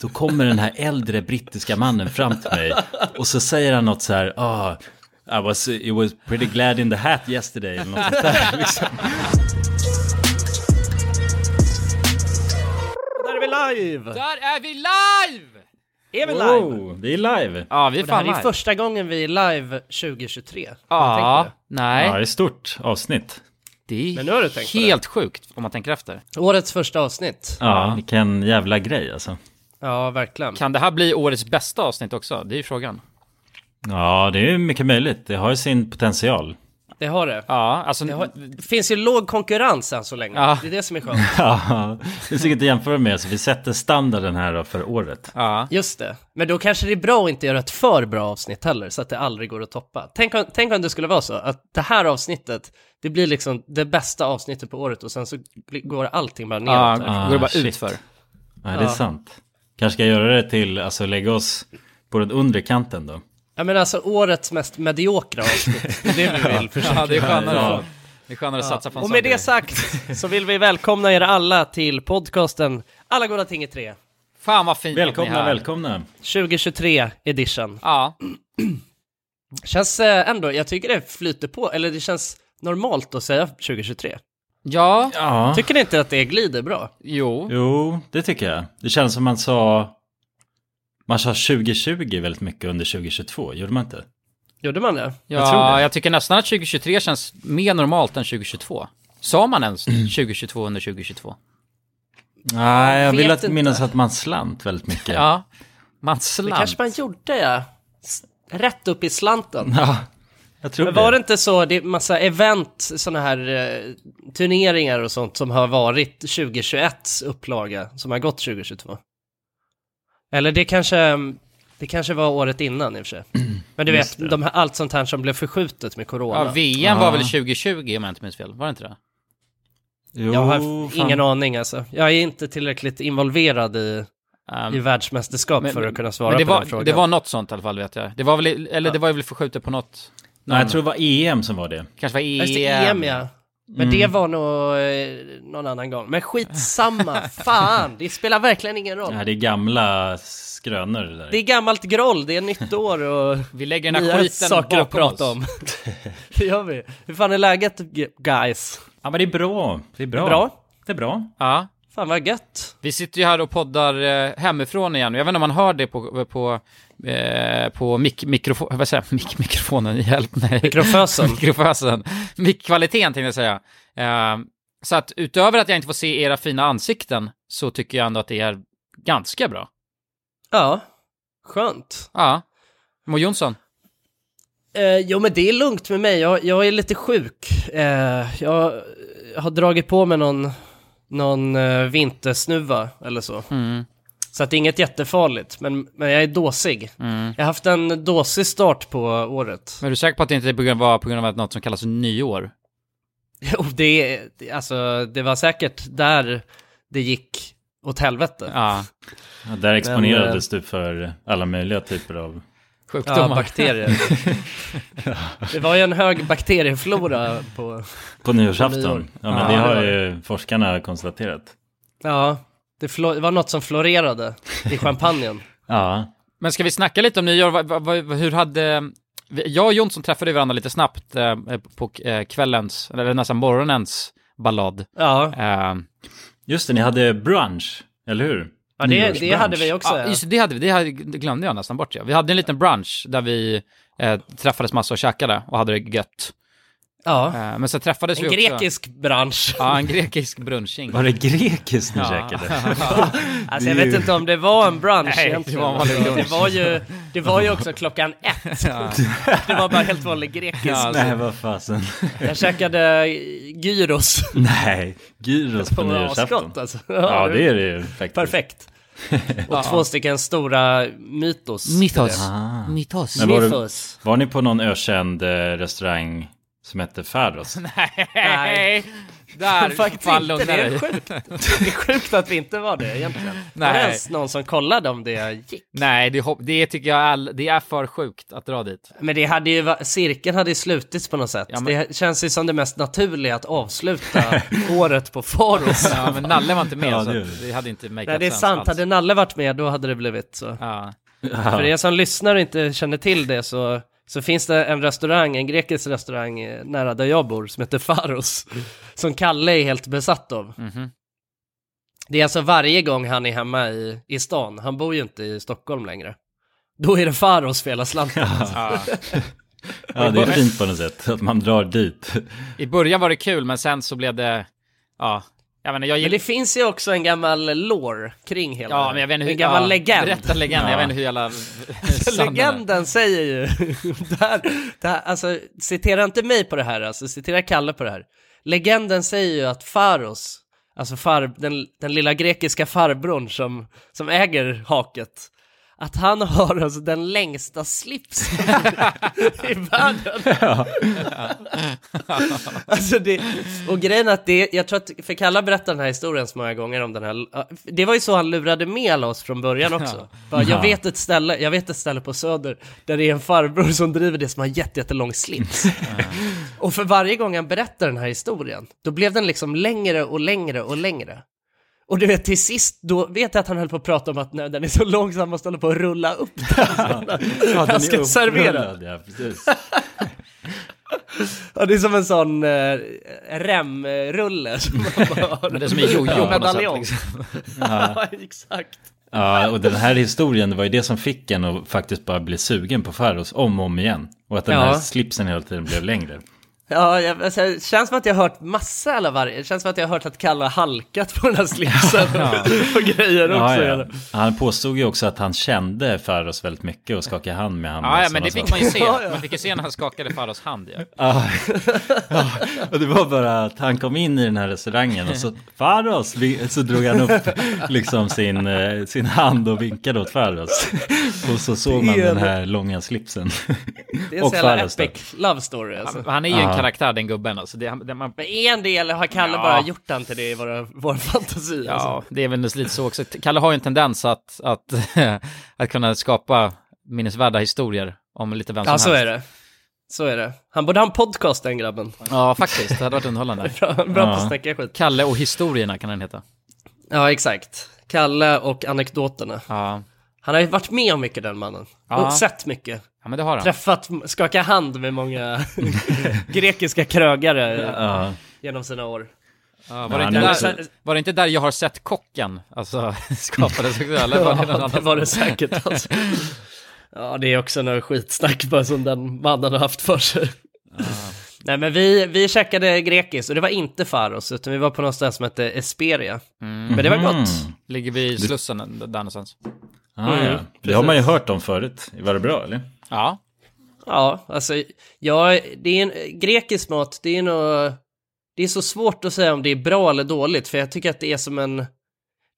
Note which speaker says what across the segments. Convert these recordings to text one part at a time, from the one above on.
Speaker 1: Då kommer den här äldre brittiska mannen fram till mig och så säger han något så här, ah, I was, it was pretty glad in the hat yesterday. Eller något sånt där, liksom.
Speaker 2: Där är vi live!
Speaker 3: Där är vi live!
Speaker 2: Är vi live?
Speaker 1: Wow, vi Oh, är live.
Speaker 3: Ja, vi är
Speaker 2: Och det här
Speaker 3: fan
Speaker 2: är ju
Speaker 3: live.
Speaker 2: första gången vi är live 2023. Tänk
Speaker 3: Ja,
Speaker 2: på
Speaker 1: Ja,
Speaker 3: nej.
Speaker 1: det är stort avsnitt.
Speaker 3: Det är
Speaker 2: Men nu har du tänkt på
Speaker 3: helt sjukt om man tänker efter.
Speaker 2: det. Årets första avsnitt.
Speaker 1: Ja, vilken jävla grej alltså.
Speaker 2: Ja, verkligen.
Speaker 3: Kan det här bli årets bästa avsnitt också? Det är ju frågan.
Speaker 1: Ja, det är ju mycket möjligt. Det har ju sin potential.
Speaker 2: Det har det.
Speaker 3: Ja, alltså...
Speaker 2: Det, har... det finns ju låg konkurrens än så länge.
Speaker 3: Ja.
Speaker 2: Det är det som är skönt.
Speaker 1: Ja, det är säkert att jämföra med, så vi sätter standarden här då för året.
Speaker 3: Ja.
Speaker 2: Just det. Men då kanske det är bra att inte göra ett för bra avsnitt heller, så att det aldrig går att toppa. Tänk om, tänk om det skulle vara så, att det här avsnittet, det blir liksom det bästa avsnittet på året och sen så gl- går allting bara neråt.
Speaker 3: Ja,
Speaker 1: Ah,
Speaker 2: här.
Speaker 3: går det bara
Speaker 1: shit.
Speaker 3: ut för.
Speaker 1: Ja, det är sant. Kanske ska jag göra det till, alltså lägga oss på den undre kanten då.
Speaker 2: Ja, men alltså årets mest mediokra avsnitt, det är det vi vill försöka.
Speaker 3: Ja, det är
Speaker 1: Ja.
Speaker 3: skönare. Det är skönare att satsa på en
Speaker 2: Och
Speaker 3: sån
Speaker 2: med det
Speaker 3: grej.
Speaker 2: sagt så vill vi välkomna er alla till podcasten Alla goda ting i tre,
Speaker 3: Fan vad fint att ni är
Speaker 1: Välkomna,
Speaker 3: här.
Speaker 1: välkomna.
Speaker 2: 2023 edition.
Speaker 3: Ja,
Speaker 2: Känns eh, ändå, jag tycker det flyter på, eller det känns normalt att säga 2023.
Speaker 3: ja,
Speaker 1: Ja,
Speaker 2: Tycker ni inte att det glider bra?
Speaker 3: jo.
Speaker 1: jo, det tycker jag. Det känns som man sa, man sa 2020 väldigt mycket under 2022, gjorde man inte?
Speaker 2: Gjorde man det?
Speaker 3: Ja,
Speaker 1: jag
Speaker 3: jag,
Speaker 1: tror det.
Speaker 3: tycker nästan att 2023 känns mer normalt än 2022. Sa man ens 2022 under 2022?
Speaker 1: Nej, jag
Speaker 2: vet
Speaker 1: vill att
Speaker 2: inte.
Speaker 1: minnas att man slant väldigt mycket. ja.
Speaker 3: Ja. Man
Speaker 2: Det
Speaker 3: slant.
Speaker 2: kanske man gjorde, ja. S- Rätt upp i slanten.
Speaker 1: jag tror
Speaker 2: Men var
Speaker 1: det.
Speaker 2: det inte så, det är massa event, sådana här eh, turneringar och sånt som har varit 2021s upplaga, som har gått 2022? Eller det kanske, det kanske var året innan i och för sig.
Speaker 3: Mm.
Speaker 2: Men du
Speaker 1: Just
Speaker 2: vet, de här, allt sånt här som blev förskjutet med corona.
Speaker 3: Ja, VM
Speaker 1: Ja.
Speaker 3: var väl 2020 om jag inte minns fel? Var det inte det?
Speaker 1: Jo,
Speaker 2: Jag har
Speaker 1: fan.
Speaker 2: ingen aning alltså. Jag är inte tillräckligt involverad i,
Speaker 3: Ehm,
Speaker 2: i världsmästerskap för att kunna svara
Speaker 3: det
Speaker 2: på
Speaker 3: var,
Speaker 2: den frågan.
Speaker 3: Det var något sånt i alla fall vet jag. Det var väl, eller det var väl förskjutet på något,
Speaker 1: Nej, jag tror det var EM som var det.
Speaker 3: kanske var E EM.
Speaker 2: Just det, EM E ja. Men det
Speaker 3: Mm.
Speaker 2: var nog eh, någon annan gång. Men skitsamma, fan, det spelar verkligen ingen roll.
Speaker 1: Ja, det är gamla skrönor det där.
Speaker 2: Det är gammalt groll, det är nytt år och
Speaker 3: Vi lägger den här
Speaker 2: nya
Speaker 3: skiten
Speaker 2: saker att
Speaker 3: bakom
Speaker 2: prata
Speaker 3: oss.
Speaker 2: om. det gör vi. Hur fan är läget gu- guys?
Speaker 1: Ja, men det är bra. Det är bra.
Speaker 2: Det är bra.
Speaker 1: Det är bra.
Speaker 3: Ja.
Speaker 2: Fan vad gött.
Speaker 3: Vi sitter ju här och poddar eh, hemifrån igen. Jag vet inte om man hör det på, på, eh, på mik mikrofon, vad säger jag, mik mikrofonen, hjälp mig.
Speaker 2: Mikrofösen.
Speaker 3: Mikrofösen. Mikkvaliteten tänkte jag säga. Eh, så att utöver att jag inte får se era fina ansikten så tycker jag ändå att det är ganska bra.
Speaker 2: Ja, skönt.
Speaker 3: Ja. Mo Jonsson.
Speaker 2: Eh, jo men det är lugnt med mig, jag, jag är lite sjuk. Eh, jag har dragit på mig någon, någon eh, vintersnuva eller så.
Speaker 3: Mm.
Speaker 2: Så att det är inget jättefarligt, men, men jag är dåsig.
Speaker 3: Mm.
Speaker 2: Jag har haft en dåsig start på året.
Speaker 3: Men är du säker på att det inte är på grund av, på grund av något som kallas nyår?
Speaker 2: Jo, det, är- det- alltså, det var säkert där det gick åt helvete.
Speaker 3: Ja,
Speaker 1: Ja, där exponerades
Speaker 2: eh,
Speaker 1: du för alla möjliga typer av...
Speaker 2: Ja,
Speaker 3: sjukdomar.
Speaker 2: bakterier. det var ju en hög bakterieflora på...
Speaker 1: På nyårsafton.
Speaker 2: nyår.
Speaker 1: Ja, men
Speaker 3: Ja,
Speaker 1: det
Speaker 3: det
Speaker 1: har
Speaker 2: var
Speaker 1: ju forskarna konstaterat.
Speaker 2: Ja, det, flo- det var något som florerade i champagnen.
Speaker 1: Ja.
Speaker 3: Men ska vi snacka lite om nyår? Va, va, va, hur hade... Jag och Jonsson träffade ju varandra lite snabbt eh, på eh, kvällens, eller nästan morgonens ballad.
Speaker 2: Ja,
Speaker 3: Eh,
Speaker 1: Just det, ni hade brunch, eller hur?
Speaker 2: ja det, det
Speaker 1: Nyårsbrunch.
Speaker 2: hade vi också.
Speaker 3: ja,
Speaker 2: ja.
Speaker 3: just det, det, hade, vi- det hade, det glömde jag nästan bort. Ja. Vi hade en liten brunch där vi eh, träffades massa och käkade och hade det gött.
Speaker 2: Ja,
Speaker 3: Eh, men sen träffades
Speaker 2: en
Speaker 3: vi också...
Speaker 2: grekisk bransch.
Speaker 3: Ja, en grekisk brunching.
Speaker 1: Var det grekiskt ni
Speaker 3: Ja.
Speaker 1: käkade?
Speaker 2: Alltså jag vet inte om det var en brunch
Speaker 3: Nej,
Speaker 2: egentligen.
Speaker 3: det var en vanlig lunch.
Speaker 2: det, var ju, det var ju också klockan ett. Det var bara helt vanlig grekisk.
Speaker 3: Ja, alltså.
Speaker 1: Nej, vad fasen.
Speaker 2: Jag käkade gyros
Speaker 1: Nej, gyros på
Speaker 2: på
Speaker 1: nyårsafton.
Speaker 2: avskott alltså.
Speaker 1: Ja, det är det ju faktiskt.
Speaker 2: Perfekt. Och två stycken stora mytos.
Speaker 3: Mythos.
Speaker 1: Ah.
Speaker 3: Mythos.
Speaker 1: Men var, du,
Speaker 2: Mythos.
Speaker 1: var ni på någon ökänd eh, restaurang som hette Faros?
Speaker 3: Nej. Där,
Speaker 2: Faktiskt
Speaker 3: fan
Speaker 2: inte,
Speaker 3: lugna
Speaker 2: det är
Speaker 3: dig.
Speaker 2: sjukt. Det är sjukt att vi inte var det egentligen. Var det
Speaker 3: Nej.
Speaker 2: ens någon som kollade om det gick?
Speaker 3: Nej, det, hopp- det tycker jag all, det är för sjukt att dra dit.
Speaker 2: Men det hade ju, va- cirkeln hade ju slutits på något sätt.
Speaker 3: Ja, men-
Speaker 2: Det känns ju som det mest naturliga att avsluta året på Faros.
Speaker 3: Ja, men Nalle var inte med
Speaker 1: Ja,
Speaker 3: så
Speaker 1: det-
Speaker 3: att det hade inte make
Speaker 2: Nej, det är
Speaker 3: sense
Speaker 2: sant.
Speaker 3: alls.
Speaker 2: Hade Nalle varit med, då hade det blivit så.
Speaker 3: Ja.
Speaker 2: För er som lyssnar och inte känner till det så, så finns det en restaurang, en grekisk restaurang eh, nära där jag bor som heter Faros. Som Kalle är helt besatt av.
Speaker 3: Mhm.
Speaker 2: Det är alltså varje gång han är hemma i, i stan, han bor ju inte i Stockholm längre. Då är det Faros för hela slanten.
Speaker 3: Ja.
Speaker 1: Ja, det är fint på något sätt att man drar dit.
Speaker 3: I början var det kul, men sen så blev det, ja, jag menar, jag
Speaker 2: Men det finns ju också en gammal lore kring hela det
Speaker 3: Ja,
Speaker 2: här.
Speaker 3: men jag vet inte hur...
Speaker 2: En gammal
Speaker 3: ja,
Speaker 2: legend.
Speaker 3: Berätta legend, jag vet inte hur jävla... sann den är.
Speaker 2: Legenden säger ju, det här, det här, alltså citera inte mig på det här, alltså citera Kalle på det här. Legenden säger ju att Faros, alltså far, den, den lilla grekiska farbrorn som, som äger haket, att han har alltså den längsta slipsen i världen. alltså det, och grejen är att det, jag tror att, för Kalla berättar den här historien så många gånger om den här, det var ju så han lurade med alla oss från början också. Bara, jag vet ett ställe, jag vet ett ställe på Söder där det är en farbror som driver det som har en jätte, jättelång slips. och för varje gång han berättar den här historien, då blev den liksom längre och längre och längre. Och du vet till sist, då vet jag att han höll på att prata om att nej, den är så lång så han måste hålla på att rulla upp den.
Speaker 1: Ja, den är
Speaker 2: ska servera.
Speaker 1: upprullad, Ja, precis.
Speaker 2: Ja, det är som en sån eh, remrulle som man bara har.
Speaker 3: Men det är som en jojo på något sätt,
Speaker 2: Medaljong.
Speaker 3: liksom.
Speaker 2: Ja, exakt.
Speaker 1: Ja, och den här historien, det var ju det som fick en att faktiskt bara bli sugen på Faros om och om igen. Och att den
Speaker 2: Ja.
Speaker 1: här slipsen hela tiden blev längre.
Speaker 2: Ja, jag, alltså, det känns som att jag har hört massa alla varje. Det känns som att jag har hört att Kalle har halkat på den här slipsen och, och grejer också.
Speaker 1: Ja, ja.
Speaker 2: eller?
Speaker 1: Han påstod ju också att han kände Faros väldigt mycket och skakade hand med honom.
Speaker 3: Ja, ja,
Speaker 1: som
Speaker 3: men det
Speaker 1: han
Speaker 3: fick
Speaker 1: sa.
Speaker 3: man ju se.
Speaker 2: Ja, ja.
Speaker 3: Man fick ju se när han skakade Faros hand ju.
Speaker 1: Och det var bara att han kom in i den här restaurangen och så Faros, vi- så drog han upp liksom sin, eh, sin hand och vinkade åt Faros. Och så såg man
Speaker 2: Det är-
Speaker 1: den här långa slipsen.
Speaker 2: Det är en
Speaker 1: Och
Speaker 2: så jävla
Speaker 1: Fares då.
Speaker 2: epic love story alltså.
Speaker 3: Han är ju en karaktär den gubben alltså. Det, han- det, man,
Speaker 2: Men är en del har Kalle
Speaker 3: Ja.
Speaker 2: bara gjort han till det i våra, vår fantasi. Alltså.
Speaker 3: ja, det är väl lite så också. Kalle har ju en tendens att, att, att kunna skapa minnesvärda historier om lite vem som
Speaker 2: ja, så
Speaker 3: helst.
Speaker 2: är det. Så är det. Han borde ha en podcast den grabben.
Speaker 3: Ja, faktiskt. Det hade varit underhållande.
Speaker 2: Bra, bra på att
Speaker 1: Ja.
Speaker 2: snacka skit.
Speaker 3: Kalle och historierna kan den heta.
Speaker 2: Ja, exakt. Kalle och anekdoterna.
Speaker 3: Ja,
Speaker 2: Han har ju varit med om mycket den mannen.
Speaker 3: Ja.
Speaker 2: Och sett mycket.
Speaker 3: ja men det har han.
Speaker 2: Träffat, skakat hand med många grekiska krögare
Speaker 1: Ja,
Speaker 2: genom sina år.
Speaker 3: Ja, var, det inte
Speaker 1: Nej, han är
Speaker 3: där,
Speaker 2: också-
Speaker 3: var det inte där jag har sett kocken? Alltså skapades också, eller var det någon
Speaker 2: Ja, det
Speaker 3: annan?
Speaker 2: var det säkert alltså. Ja, det är också något skitsnack bara som den mannen har haft för sig. Nej, men vi, vi käkade grekiskt och det var inte Faros, utan vi var på något ställe som hette Esperia. Men det var gott.
Speaker 3: Ligger vi i Slussen eh, där någonstans?
Speaker 1: ah,
Speaker 2: Mm,
Speaker 1: ja. Det har man ju hört om förut. Var det bra eller?
Speaker 3: Ja,
Speaker 2: Ja, alltså, ja, det är en, grekisk mat, det är nog, det är så svårt att säga om det är bra eller dåligt, för jag tycker att det är som en,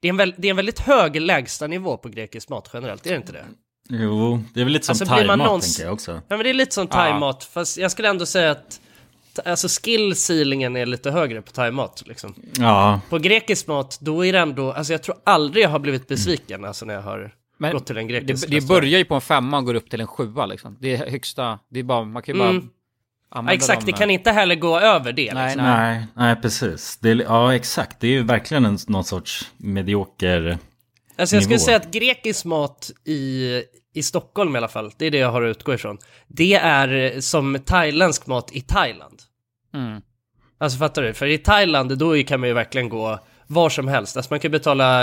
Speaker 2: det är en, väl, det är en väldigt hög lägstanivå på grekisk mat generellt, är det inte det?
Speaker 1: Jo, det är väl lite som
Speaker 2: Alltså, blir man
Speaker 1: thaimat
Speaker 2: någons-
Speaker 1: tänker jag också.
Speaker 2: Ja, men det är lite som thaimat, fast jag skulle ändå säga att t- Alltså skill ceilingen är lite högre på thaimat liksom.
Speaker 1: Ja,
Speaker 2: På grekisk mat, då är det ändå, alltså jag tror aldrig jag har blivit besviken alltså när jag har
Speaker 3: Men
Speaker 2: gått till en
Speaker 3: det,
Speaker 2: grekisk
Speaker 3: det
Speaker 2: restaurang.
Speaker 3: börjar ju på en femma och går upp till en sjua liksom. Det är högsta, det är bara, man kan ju bara
Speaker 2: Mm.
Speaker 3: använda
Speaker 2: Ja, exakt,
Speaker 3: dem,
Speaker 2: det
Speaker 3: eh,
Speaker 2: kan inte heller gå över det.
Speaker 3: Nej,
Speaker 2: liksom.
Speaker 3: nej.
Speaker 1: nej, nej precis. Det är, ja, exakt. Det är ju verkligen en, någon sorts medioker...
Speaker 2: Alltså jag skulle
Speaker 1: nivå.
Speaker 2: säga att grekisk mat i, i Stockholm i alla fall, det är det jag har att utgå ifrån. Det är eh, som thailändsk mat i Thailand.
Speaker 3: Mm.
Speaker 2: Alltså fattar du? För i Thailand, då är- kan man ju verkligen gå var som helst. Alltså man kan ju betala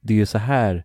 Speaker 1: det är ju så här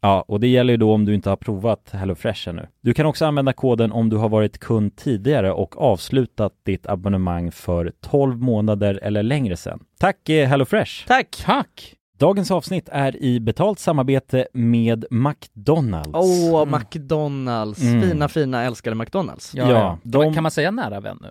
Speaker 1: Ja, och det gäller ju då om du inte har provat HelloFresh ännu. Du kan också använda koden om du har varit kund tidigare och avslutat ditt abonnemang för 12 månader eller längre sedan. Tack eh, HelloFresh!
Speaker 2: Tack!
Speaker 3: Tack!
Speaker 1: Dagens avsnitt är i betalt samarbete med McDonalds.
Speaker 2: Åh, McDonalds!
Speaker 1: Mm.
Speaker 2: Fina, fina, älskade McDonalds.
Speaker 1: Ja, de-
Speaker 3: Kan man säga nära vän nu?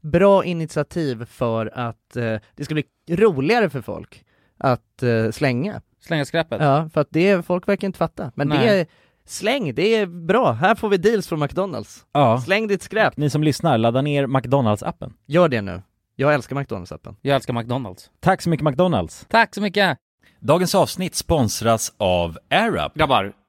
Speaker 2: bra initiativ för att eh, det ska bli roligare för folk att eh, slänga.
Speaker 3: Slänga skräpet.
Speaker 2: Ja, för att det, är- folk verkar inte fatta. Men det
Speaker 3: Nej.
Speaker 2: är, släng, det är bra. Här får vi deals från McDonalds.
Speaker 1: Ja.
Speaker 2: Släng ditt skräp.
Speaker 1: Ni som lyssnar, ladda ner McDonalds-appen.
Speaker 2: Gör det nu. Jag älskar McDonalds-appen.
Speaker 3: Jag älskar McDonalds.
Speaker 1: Tack så mycket McDonalds!
Speaker 3: Tack så mycket!
Speaker 4: Dagens avsnitt sponsras av AirUp.
Speaker 5: Grabbar,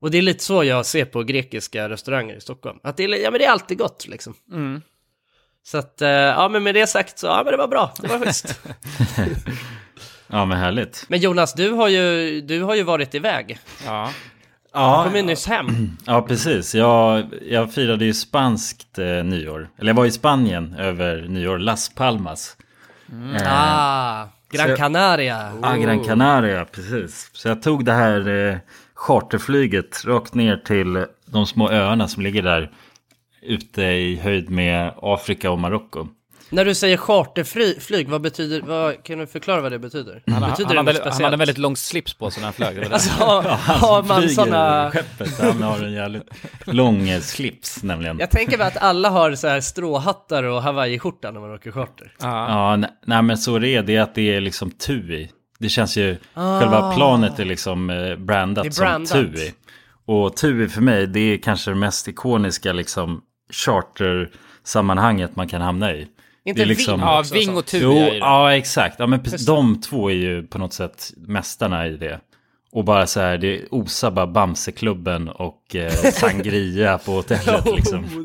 Speaker 2: Och det är lite så jag ser på grekiska restauranger i Stockholm. Att det är, ja men det är alltid gott liksom.
Speaker 3: Mm.
Speaker 2: Så att, eh, ja men med det sagt så, ja men det var bra, det var schysst.
Speaker 1: Ja, men härligt.
Speaker 2: men Jonas, du har ju, du har ju varit iväg.
Speaker 6: Ja.
Speaker 2: Du kom ju nyss hem.
Speaker 1: Ja, precis. Jag, jag firade ju spanskt eh, nyår. Eller jag var i Spanien över nyår, Las Palmas. Eh,
Speaker 2: Ah, Gran
Speaker 1: Så-
Speaker 2: Canaria.
Speaker 1: ah, Gran Canaria, precis. Så jag tog det här eh, charterflyget rakt ner till de små öarna som ligger där ute i höjd med Afrika och Marocko.
Speaker 2: När du säger charterflyg, vad betyder, vad, kan du förklara vad det betyder?
Speaker 3: Han,
Speaker 2: betyder
Speaker 3: han, hade,
Speaker 2: det något
Speaker 3: han hade en
Speaker 2: speciellt?
Speaker 3: väldigt lång slips på sig när han flög. Det var det.
Speaker 2: Alltså, har, har man
Speaker 1: Flyger
Speaker 2: sådana...
Speaker 1: ur Skeppet, han har en jävligt lång eh, slips nämligen.
Speaker 2: Jag tänker mig att alla har så här stråhattar och hawaiiskjorta när man åker charter.
Speaker 1: Ja, ne- nej men så det är det är att det är liksom TUI. Det känns ju, själva planet är liksom eh, brandat,
Speaker 2: Ah. Det är brandat.
Speaker 1: som TUI. Och TUI för mig, det är kanske det mest ikoniska liksom charter-sammanhanget man kan hamna i.
Speaker 2: Inte
Speaker 1: det är liksom,
Speaker 2: Ving
Speaker 3: Ja,
Speaker 2: också,
Speaker 3: Ving
Speaker 2: så.
Speaker 3: och Tui
Speaker 1: Jo,
Speaker 3: är ju det.
Speaker 1: ja exakt. Ja, men precis, de två är ju på något sätt mästarna i det. Och bara så här, det osar bara Bamseklubben och eh, sangria på hotellet liksom.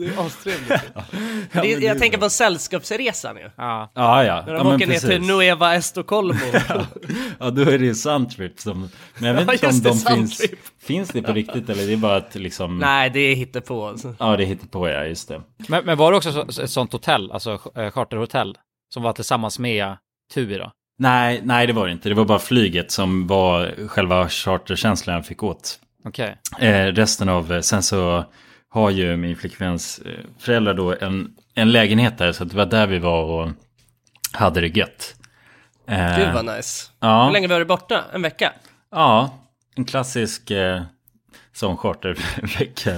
Speaker 2: Det, är- jag tänker på sällskapsresan ju.
Speaker 1: Ja, ja.
Speaker 2: När
Speaker 1: ja,
Speaker 2: de
Speaker 1: men
Speaker 2: åker ner till
Speaker 1: precis.
Speaker 2: Nueva Estocolmo.
Speaker 1: Ja, då är det ju Suntrip som... Men jag vet
Speaker 2: Ja,
Speaker 1: inte om
Speaker 2: just
Speaker 1: de
Speaker 2: det,
Speaker 1: finns...
Speaker 2: Suntrip.
Speaker 1: Finns det på riktigt eller det är bara att liksom...
Speaker 2: Nej, det är hittepå. Alltså.
Speaker 1: Ja, det hittar på ja, just det.
Speaker 3: Men, men var det också så, ett sånt hotell, alltså eh, charterhotell, som var tillsammans med Tui då?
Speaker 1: Nej, nej det var det inte. Det var bara flyget som var själva charterkänslan jag fick åt.
Speaker 3: Okej.
Speaker 1: Eh, resten av... eh, Sen så har ju min flickväns eh, föräldrar då en, en lägenhet där. Så det var där vi var och hade det gött. Eh,
Speaker 2: Gud vad nice.
Speaker 1: Ja.
Speaker 2: Hur länge var du borta? En vecka?
Speaker 1: Ja, en klassisk eh, sån chartervecka.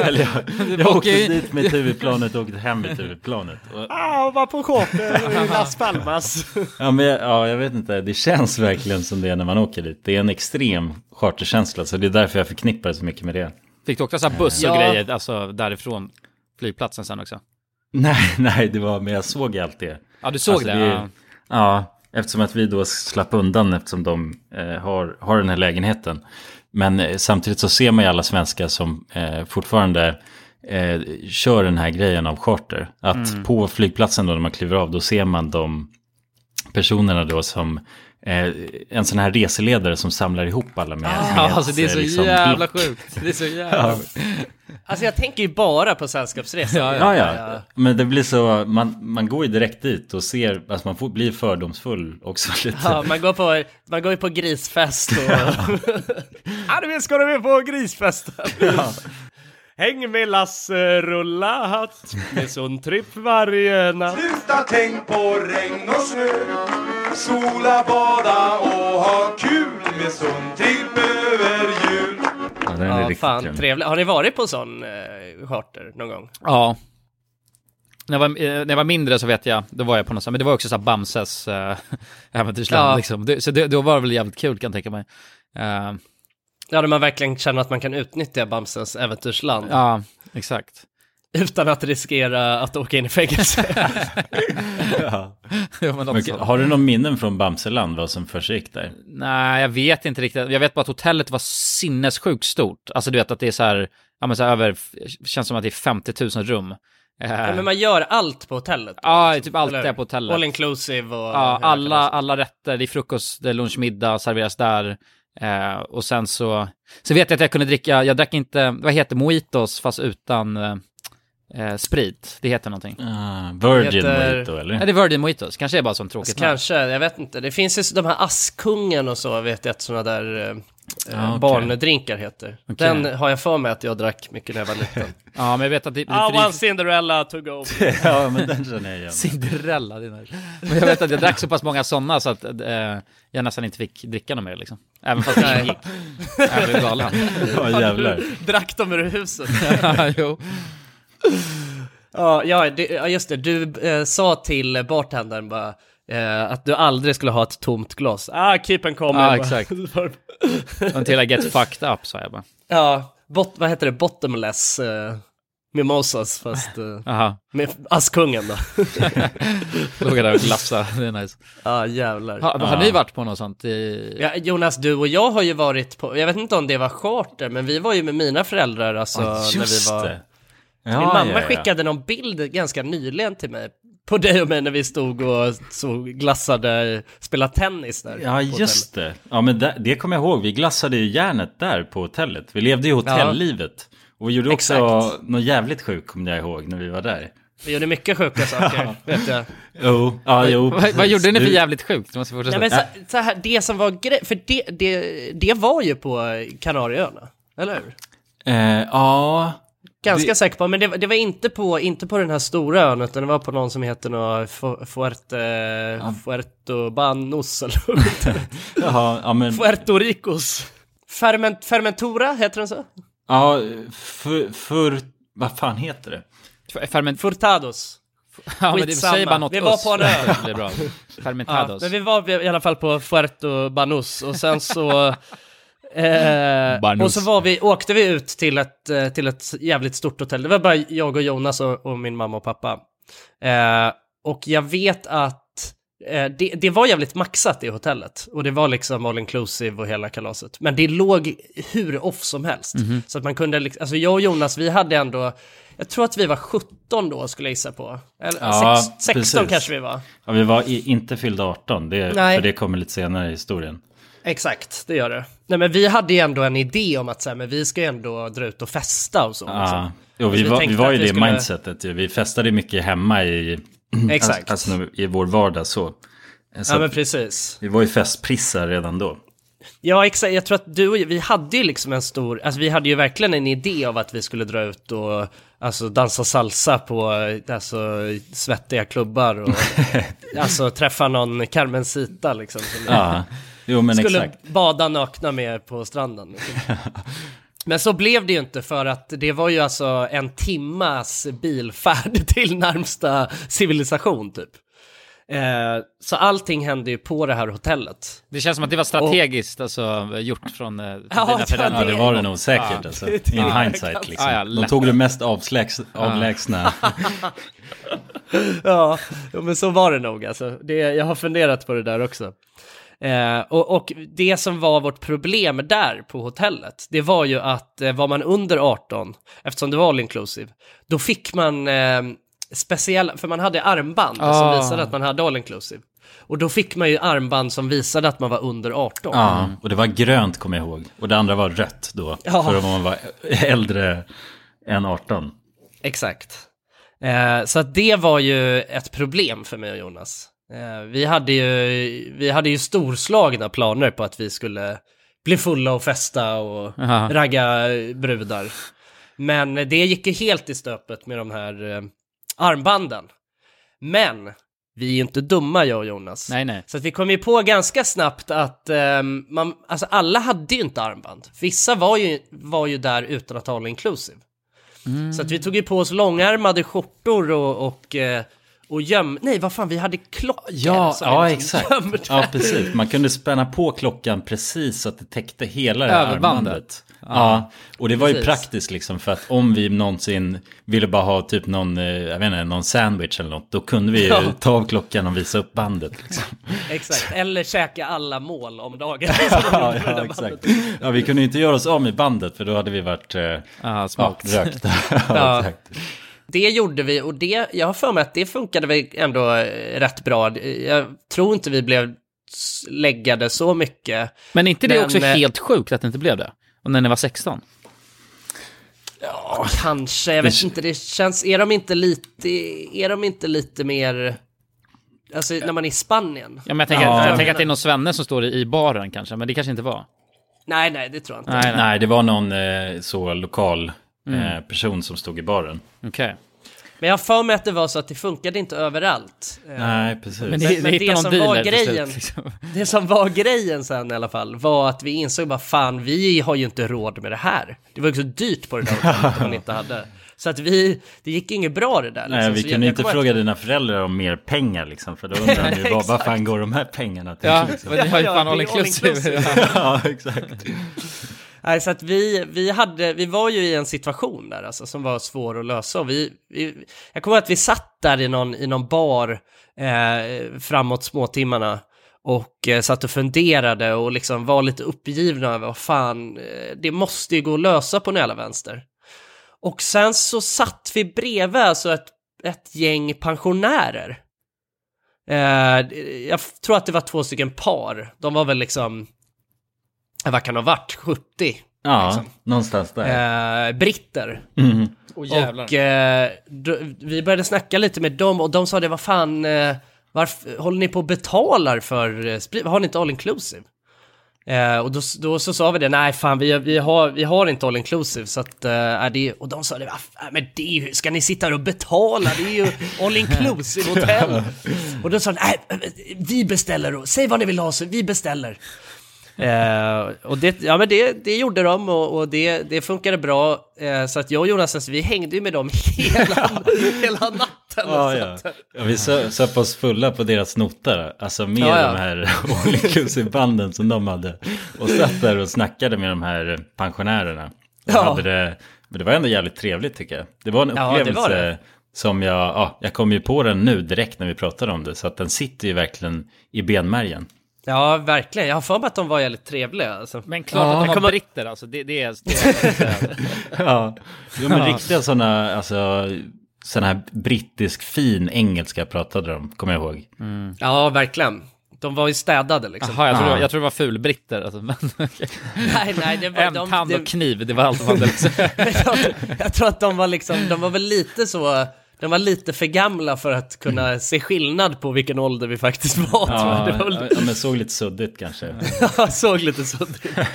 Speaker 1: Eller jag, jag åkte
Speaker 3: ju-
Speaker 1: dit med huvudplanet och åkte hem med huvudplanet. Och,
Speaker 2: Ja, var på charter i Las Palmas.
Speaker 1: ja, men, jag- ja, jag vet inte, det känns verkligen som det är när man åker dit. Det är en extrem charterkänsla, så det är därför jag förknippar det så mycket med det.
Speaker 3: Fick du åka så här buss och
Speaker 2: Ja.
Speaker 3: grejer, alltså därifrån flygplatsen sen också?
Speaker 1: Nej, nej, det var, men jag såg allt det.
Speaker 3: Ja, du såg
Speaker 1: Alltså,
Speaker 3: det?
Speaker 1: är-
Speaker 3: Ja.
Speaker 1: ja, eftersom att vi då slapp undan eftersom de eh, har, har den här lägenheten. Men eh, samtidigt så ser man ju alla svenskar som eh, fortfarande eh, kör den här grejen av charter. Att
Speaker 3: Mm.
Speaker 1: på flygplatsen då när man kliver av då ser man de personerna då som eh, en sån här reseledare som samlar ihop alla med. med
Speaker 3: Ja,
Speaker 1: ett,
Speaker 3: alltså det är
Speaker 1: eh,
Speaker 3: så
Speaker 1: liksom,
Speaker 3: jävla
Speaker 1: block.
Speaker 3: sjukt. Det är så jävla...
Speaker 2: Alltså jag tänker ju bara på sällskapsresan.
Speaker 1: Ja, ja. Men det blir så, man, man går ju direkt dit och ser, alltså man får, blir fördomsfull också lite.
Speaker 2: Ja, man, går på, man går ju på grisfest och... ja, du vet, ska du med på grisfesten? Häng med Lasse, rulla hatt med sån tripp varje natt.
Speaker 7: Sluta tänk på regn och snö Sola, bada och ha kul med Sundtripp över jul
Speaker 1: Ja, den är
Speaker 2: Ja,
Speaker 1: riktigt
Speaker 2: fan
Speaker 1: grym.
Speaker 2: trevligt. Har ni varit på sån eh, charter någon gång?
Speaker 3: Ja. När jag, var, eh, när jag var mindre så vet jag, då var jag på något sånt, men det var också så här Bamses äh, äventyrsland
Speaker 2: Ja.
Speaker 3: liksom. Det, så det, då var det väl jävligt kul kan jag tänka mig. Eh,
Speaker 2: Ja, där man verkligen känner att man kan utnyttja Bamses äventyrsland
Speaker 3: ja, exakt.
Speaker 2: utan att riskera att åka in i fängelse.
Speaker 3: Ja, men något
Speaker 1: Men,
Speaker 3: sånt.
Speaker 1: har du någon minnen från Bamseland vad som försiggick där?
Speaker 3: Nej, jag vet inte riktigt. Jag vet bara att hotellet var sinnessjukt stort. Alltså du vet att det är så här, ja men så här över, känns som att det är 50 000 rum. Eh,
Speaker 2: ja, men man gör allt på hotellet.
Speaker 3: Ja, typ allt
Speaker 2: Eller
Speaker 3: är på hotellet.
Speaker 2: All inclusive och...
Speaker 3: Ja, alla, alla rätter, det är frukost, det är lunch, middag serveras där. Eh, och sen så, så vet jag att jag kunde dricka, jag drack inte, vad heter mojitos fast utan eh, sprit? Det heter någonting.
Speaker 1: Ah, Virgin
Speaker 2: heter-
Speaker 1: Mojito eller?
Speaker 3: Ja, det är Virgin mojitos, kanske är bara som tråkigt namn.
Speaker 2: Kanske, jag vet inte. Det finns ju så- de här Askungen och så, vet jag att sådana där eh,
Speaker 3: Ja, okej.
Speaker 2: barndrinkar heter.
Speaker 3: Okej.
Speaker 2: Den har jag för mig att jag drack mycket när jag var liten.
Speaker 3: Ja, men jag vet att det, det
Speaker 2: Ah,
Speaker 3: drivs-
Speaker 2: one Cinderella to go.
Speaker 1: ja, men den känner jag igen.
Speaker 3: Cinderella, det är nice. Men jag vet att jag drack så pass många sådana så att eh, jag nästan inte fick dricka något mer liksom. Även fast det gick. Jag blev galen.
Speaker 1: Ja, jävlar.
Speaker 2: Drack de ur huset?
Speaker 3: Ja, jo.
Speaker 2: Ja, ja, det, ja just det. Du eh, sa till bartendern bara eh, att du aldrig skulle ha ett tomt glas. Ah, keep and coming.
Speaker 3: Ja,
Speaker 2: Bara-
Speaker 3: exakt. Until I get fucked up, sa jag bara.
Speaker 2: ja, bot, vad heter det? Bottomless eh, mimosas, fast eh,
Speaker 3: Aha,
Speaker 2: med Askungen då.
Speaker 3: låg jag där och glafsade. Det är nice.
Speaker 2: Ja, jävlar.
Speaker 3: Ha, Har ni varit på något sånt? I...
Speaker 2: Ja, Jonas, du och jag har ju varit på, jag vet inte om det var charter, men vi var ju med mina föräldrar alltså när vi var...
Speaker 1: Ja,
Speaker 2: Min mamma
Speaker 1: ja, ja.
Speaker 2: skickade någon bild ganska nyligen till mig på dig och mig när vi stod och såg glassade, spelade tennis där.
Speaker 1: Ja,
Speaker 2: på
Speaker 1: just det. Ja, men det, det kommer jag ihåg. Vi glassade ju järnet där på hotellet. Vi levde ju hotellivet. Och vi gjorde också
Speaker 2: Exakt.
Speaker 1: något jävligt sjukt, kommer jag ihåg, när vi var där.
Speaker 2: Vi gjorde mycket sjuka saker, vet jag.
Speaker 1: Jo, ja, jo.
Speaker 3: Vad, vad
Speaker 1: precis.
Speaker 3: gjorde ni för
Speaker 1: Du-
Speaker 3: jävligt sjukt? Du måste fortsätta.
Speaker 2: Nej men så, så här, det som var grej, för det, det, det var ju på Kanarieöarna, eller hur?
Speaker 1: Eh, ja,
Speaker 2: Ganska säker på, men det, det var inte på, inte på den här stora ön, utan det var på någon som heter något Fu- Fuerte, Fuertobanos eller vad heter det?
Speaker 1: jaha, ja, men...
Speaker 2: Puerto Ricos. Ferment, fermentura, heter den så?
Speaker 1: Ja, för, för... Vad fan heter det?
Speaker 3: F- Ferment...
Speaker 2: Furtados.
Speaker 3: Ja, men det
Speaker 2: skitsamma.
Speaker 3: säger bara något
Speaker 2: Vi var
Speaker 3: oss.
Speaker 2: på en ö.
Speaker 3: Det är bra.
Speaker 2: Ja,
Speaker 3: Fermentados.
Speaker 2: men vi var i alla fall på Fuerto Banus och sen så... Eh,
Speaker 3: Banus.
Speaker 2: och så var vi, åkte vi ut till ett, eh, till ett jävligt stort hotell. Det var bara jag och Jonas och, och min mamma och pappa. Eh, och jag vet att eh, det, det var jävligt maxat i hotellet. Och det var liksom all inclusive och hela kalaset. Men det låg hur off som helst.
Speaker 1: Mhm.
Speaker 2: Så att man kunde, liksom, alltså jag och Jonas, vi hade ändå, jag tror att vi var 17 då skulle jag gissa på. Eller
Speaker 1: Ja,
Speaker 2: sex, 16
Speaker 1: precis.
Speaker 2: kanske vi var.
Speaker 1: Ja, vi var i, inte fyllda 18, det,
Speaker 2: Nej.
Speaker 1: för det kommer lite senare i historien.
Speaker 2: Exakt, det gör det. Nej men vi hade ju ändå en idé om att så här, men vi ska ju ändå dra ut och festa och så.
Speaker 1: Ja,
Speaker 2: liksom.
Speaker 1: jo, vi,
Speaker 2: vi
Speaker 1: var, vi
Speaker 2: tänkte
Speaker 1: var
Speaker 2: att
Speaker 1: ju
Speaker 2: vi
Speaker 1: det
Speaker 2: skulle-
Speaker 1: mindsetet. ju. Vi festade mycket hemma i,
Speaker 2: Exakt.
Speaker 1: Alltså, alltså, i vår vardag så. så
Speaker 2: ja men precis.
Speaker 1: Vi var ju festprissar redan då.
Speaker 2: Ja exakt, jag tror att du och jag- vi hade ju liksom en stor, alltså vi hade ju verkligen en idé av att vi skulle dra ut och alltså dansa salsa på alltså, svettiga klubbar och alltså träffa någon Carmencita liksom. Som
Speaker 1: Ja, jo men
Speaker 2: skulle
Speaker 1: exakt.
Speaker 2: bada nakna med på stranden. liksom. Men så blev det ju inte för att det var ju alltså en timmas bilfärd till närmsta civilisation typ. Eh, så allting hände ju på det här hotellet.
Speaker 3: Det känns som att det var strategiskt alltså, gjort från eh, dina
Speaker 1: Ja,
Speaker 3: föräldrar.
Speaker 1: det var det nog säkert alltså. In hindsight liksom.
Speaker 3: Ja, ja,
Speaker 1: De
Speaker 3: lätt.
Speaker 1: tog det mest avslägs, avlägsna.
Speaker 2: ja, ja, men så var det nog alltså. Det, jag har funderat på det där också. Eh, och, och det som var vårt problem där på hotellet, det var ju att eh, var man under 18, eftersom det var all inclusive, då fick man eh, speciella, för man hade armband som
Speaker 3: Ah.
Speaker 2: visade att man hade all inclusive. Och då fick man ju armband som visade att man var under 18.
Speaker 1: Ja, och det var grönt kommer jag ihåg. Och det andra var rött då.
Speaker 2: Ja.
Speaker 1: För om man var äldre än 18.
Speaker 2: Exakt. Eh, så att det var ju ett problem för mig och Jonas. Eh, vi, hade ju, vi hade ju storslagna planer på att vi skulle bli fulla och festa och
Speaker 3: Aha.
Speaker 2: ragga eh, brudar. Men det gick ju helt i stöpet med de här eh, armbanden. Men vi är ju inte dumma jag och Jonas.
Speaker 3: Nej, nej.
Speaker 2: Så att vi kom ju på ganska snabbt att ehm, man, alltså alla hade ju inte armband. Vissa var ju, var ju där utan att ha all inclusive. Så att vi tog ju på oss långärmade skjortor och, och, eh, och göm... Nej, vad fan, vi hade klockor
Speaker 1: Ja,
Speaker 2: som vi
Speaker 1: ja
Speaker 2: liksom
Speaker 1: exakt.
Speaker 2: gömde.
Speaker 1: Ja, precis. Man kunde spänna på klockan precis så att det täckte hela det här
Speaker 3: Överbandet.
Speaker 1: armbandet. Ja, och det var ju
Speaker 2: Precis.
Speaker 1: praktiskt liksom för att om vi någonsin ville bara ha typ någon, eh, jag vet inte, någon sandwich eller något, då kunde vi ju
Speaker 2: Ja.
Speaker 1: ta av klockan och visa upp bandet. Liksom.
Speaker 2: Exakt, eller käka alla mål om dagen.
Speaker 1: Ja, ja, exakt. Ja, vi kunde ju inte göra oss av med bandet för då hade vi varit eh,
Speaker 3: Ja,
Speaker 1: ja,
Speaker 3: smakt.
Speaker 1: rökta.
Speaker 2: Ja.
Speaker 1: Ja, exakt.
Speaker 2: Det gjorde vi och det, jag har för mig att det funkade väl ändå eh, rätt bra. Jag tror inte vi blev lägga det så mycket.
Speaker 3: Men är inte det
Speaker 2: Men,
Speaker 3: också
Speaker 2: eh,
Speaker 3: helt sjukt att det inte blev det? Och när ni var 16?
Speaker 2: Ja, kanske. Jag vet inte, det känns... Är de inte lite, är de inte lite mer... Alltså när man är i Spanien?
Speaker 3: Ja, men jag tänker,
Speaker 1: Ja.
Speaker 3: jag tänker att det är någon svenne som står i baren kanske, men det kanske inte var.
Speaker 2: Nej, nej, det tror jag inte.
Speaker 1: Nej, det var någon eh, så lokal eh, person som stod i baren.
Speaker 3: Okej.
Speaker 2: Men jag har för mig att det var så att det funkade inte överallt. Eh,
Speaker 1: Nej, precis.
Speaker 3: Men ni- ni hittar någon
Speaker 2: som var
Speaker 3: dealer till slut,
Speaker 2: grejen,
Speaker 3: liksom.
Speaker 2: det som var grejen sen i alla fall, var att vi insåg bara fan, vi har ju inte råd med det här. Det var ju så dyrt på det där hotellet som man inte hade. Så att vi, det gick inget bra det där. liksom.
Speaker 1: Nej, vi
Speaker 2: Så jag-
Speaker 1: kunde
Speaker 2: jag
Speaker 1: inte
Speaker 2: kommer
Speaker 1: fråga dina föräldrar om mer pengar liksom, för då undrar ni ju vad, vad
Speaker 2: Exakt.
Speaker 1: fan går de här pengarna till?
Speaker 3: Ja,
Speaker 1: liksom.
Speaker 3: men det var ju
Speaker 2: Ja,
Speaker 3: fan
Speaker 2: det är
Speaker 3: all
Speaker 2: all
Speaker 3: inclusive.
Speaker 2: inclusive.
Speaker 1: ja, exakt.
Speaker 2: Nej, så att vi, vi, hade, vi var ju i en situation där alltså, som var svår att lösa. Och vi, vi, jag kommer ihåg att vi satt där i någon, i någon bar eh, framåt småtimmarna och eh, satt och funderade och liksom var lite uppgivna över vad fan, eh, det måste ju gå att lösa på en jävla vänster. Och sen så satt vi bredvid alltså ett, ett gäng pensionärer. Eh, jag tror att det var två stycken par. De var väl liksom, eh, vad kan de ha varit, 70
Speaker 1: Ja, någonstans där.
Speaker 2: eh, britter.
Speaker 1: Mm.
Speaker 2: och eh, då, vi började snacka lite med dem och de sa det, vad fan, eh, varför håller ni på och betalar för eh, sprit? Har ni inte all inclusive? Eh, och då, då så sa vi det, nej fan vi, vi, har, vi har inte all inclusive så att, eh, är det, och de sa det, "Va fan, men det är ju, ska ni sitta här och betala? Det är ju all inclusive hotell. och då sa de, nej vi beställer och säg vad ni vill ha så vi beställer. Eh, och det, ja, men det, det gjorde de och, och det, det funkade bra. Eh, så att jag och Jonas, alltså, vi hängde ju med dem hela, hela natten. eh,
Speaker 1: Ja, ja. Ja, vi sö- söp oss fulla på deras noter, alltså med
Speaker 2: Ja, ja.
Speaker 1: de här all inclusive banden som de hade. Och satt där och snackade med de här pensionärerna. Och
Speaker 2: Ja.
Speaker 1: Hade det, men det var ändå jävligt trevligt tycker jag. Det var en
Speaker 2: Ja, det
Speaker 1: upplevelse
Speaker 2: var det.
Speaker 1: som jag, ja, jag kom ju på den nu direkt när vi pratade om det. Så att den sitter ju verkligen i benmärgen.
Speaker 2: ja, verkligen. Jag har för mig att de var jävligt trevliga. Alltså.
Speaker 3: Men klart
Speaker 2: Ja.
Speaker 3: att de
Speaker 2: Jag
Speaker 3: var
Speaker 2: kommer-
Speaker 3: britter alltså. Det, det är... Det är
Speaker 1: Ja, jo, men riktiga sådana, alltså, sån här brittisk fin engelska pratade de, kommer jag ihåg.
Speaker 2: Ja, verkligen. De var ju städade liksom.
Speaker 3: Jaha, jag tror, det var- jag tror det var fulbritter. Alltså, men, okej.
Speaker 2: Nej, nej, det var,
Speaker 3: En
Speaker 2: de,
Speaker 3: tand
Speaker 2: det-
Speaker 3: och kniv, det var allt de hade. liksom.
Speaker 2: jag, jag tror att de var liksom, de var väl lite så, de var lite för gamla för att
Speaker 3: Mm.
Speaker 2: kunna se skillnad på vilken ålder vi faktiskt var. tror jag.
Speaker 1: Ja,
Speaker 2: Det var väl,
Speaker 1: ja, men såg lite suddigt kanske.
Speaker 2: jag såg lite så ut.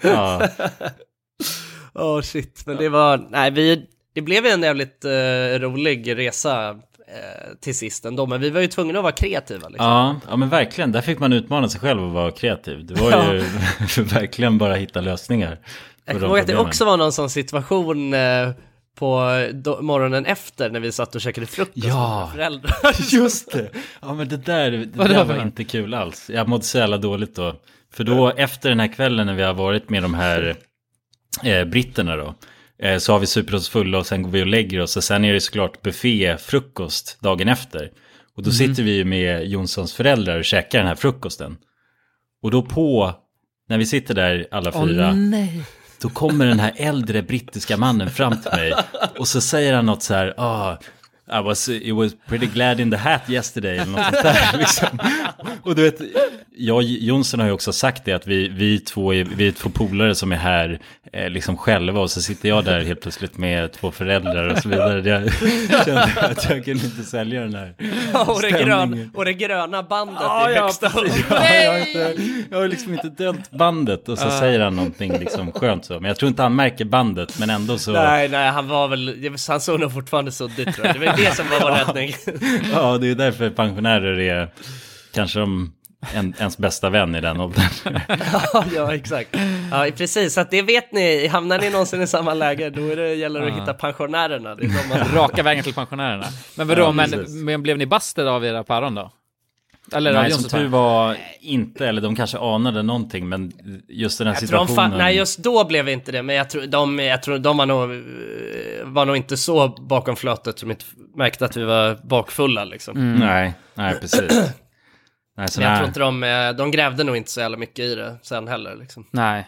Speaker 1: Ja,
Speaker 2: Åh shit, men det var, nej vi, det blev en jävligt eh, rolig resa eh, till sist ändå, men vi var ju tvungna att vara kreativa liksom.
Speaker 1: ja, ja, men verkligen. Där fick man utmana sig själv och vara kreativ. Det var ju verkligen bara hitta lösningar. på
Speaker 2: Jag
Speaker 1: de
Speaker 2: kommer ihåg att det
Speaker 1: problemen.
Speaker 2: också var någon sån situation eh, på do- morgonen efter när vi satt och käkade frukost
Speaker 1: Ja.
Speaker 2: med våra föräldrar.
Speaker 1: Just det! Ja men det där, det där var inte kul alls. Jag mådde så jävla dåligt då. För då efter den här kvällen när vi har varit med de här eh, britterna då. Eh, så har vi supit oss fulla och sen går vi och lägger oss. Och sen är det såklart buffé, frukost dagen efter. Och då sitter vi ju med Jonssons föräldrar och käkar den här frukosten. Och då på, när vi sitter där alla fyra. Då kommer den här äldre brittiska mannen fram till mig och så säger han något så här, ah, I was, it was pretty glad in the hat yesterday eller något sånt där. Liksom. Och du vet, jag och Jonsson har ju också sagt det att vi, vi, två, är, vi är två polare som är här eh, liksom själva och så sitter jag där helt plötsligt med två föräldrar och så vidare. Jag kände att jag kunde inte sälja den här
Speaker 2: och, det gröna,
Speaker 1: stämningen.
Speaker 2: och det gröna bandet
Speaker 1: Ja,
Speaker 2: i
Speaker 1: ja,
Speaker 2: högsta
Speaker 1: precis. Ja, jag, har inte, jag har liksom inte dömt bandet och så säger han någonting liksom skönt så. Men jag tror inte han märker bandet men ändå så.
Speaker 2: Nej, nej, han var väl, han såg nog fortfarande suddigt tror jag. Det var ju det som var vår räddning.
Speaker 1: Ja, det är därför pensionärer är kanske de, en, ens bästa vän i den åldern.
Speaker 2: ja, ja, exakt. Ja, precis, så att det vet ni, hamnar ni någonsin i samma läge, då är det, gäller det att hitta pensionärerna. Det är de man...
Speaker 3: Raka vägen till pensionärerna. Men vadå,
Speaker 1: Ja, precis.
Speaker 3: men, men blev ni bastade av era päron då? Eller av
Speaker 1: Nej, som
Speaker 3: Jonssons
Speaker 1: tur
Speaker 3: päron?
Speaker 1: var inte, eller de kanske anade någonting, men just den här
Speaker 2: Jag tror de
Speaker 1: situationen.
Speaker 2: fa- nej, just då blev inte det, men jag tror de, jag tror, de var, nog, eh, var nog inte så bakom flötet som inte märkte att vi var bakfulla. Liksom.
Speaker 1: Mm. Nej, nej, precis. Nej, så
Speaker 2: Men jag
Speaker 1: nej,
Speaker 2: tror inte de, eh, de grävde nog inte så jävla mycket i det sen heller. Liksom.
Speaker 3: Nej.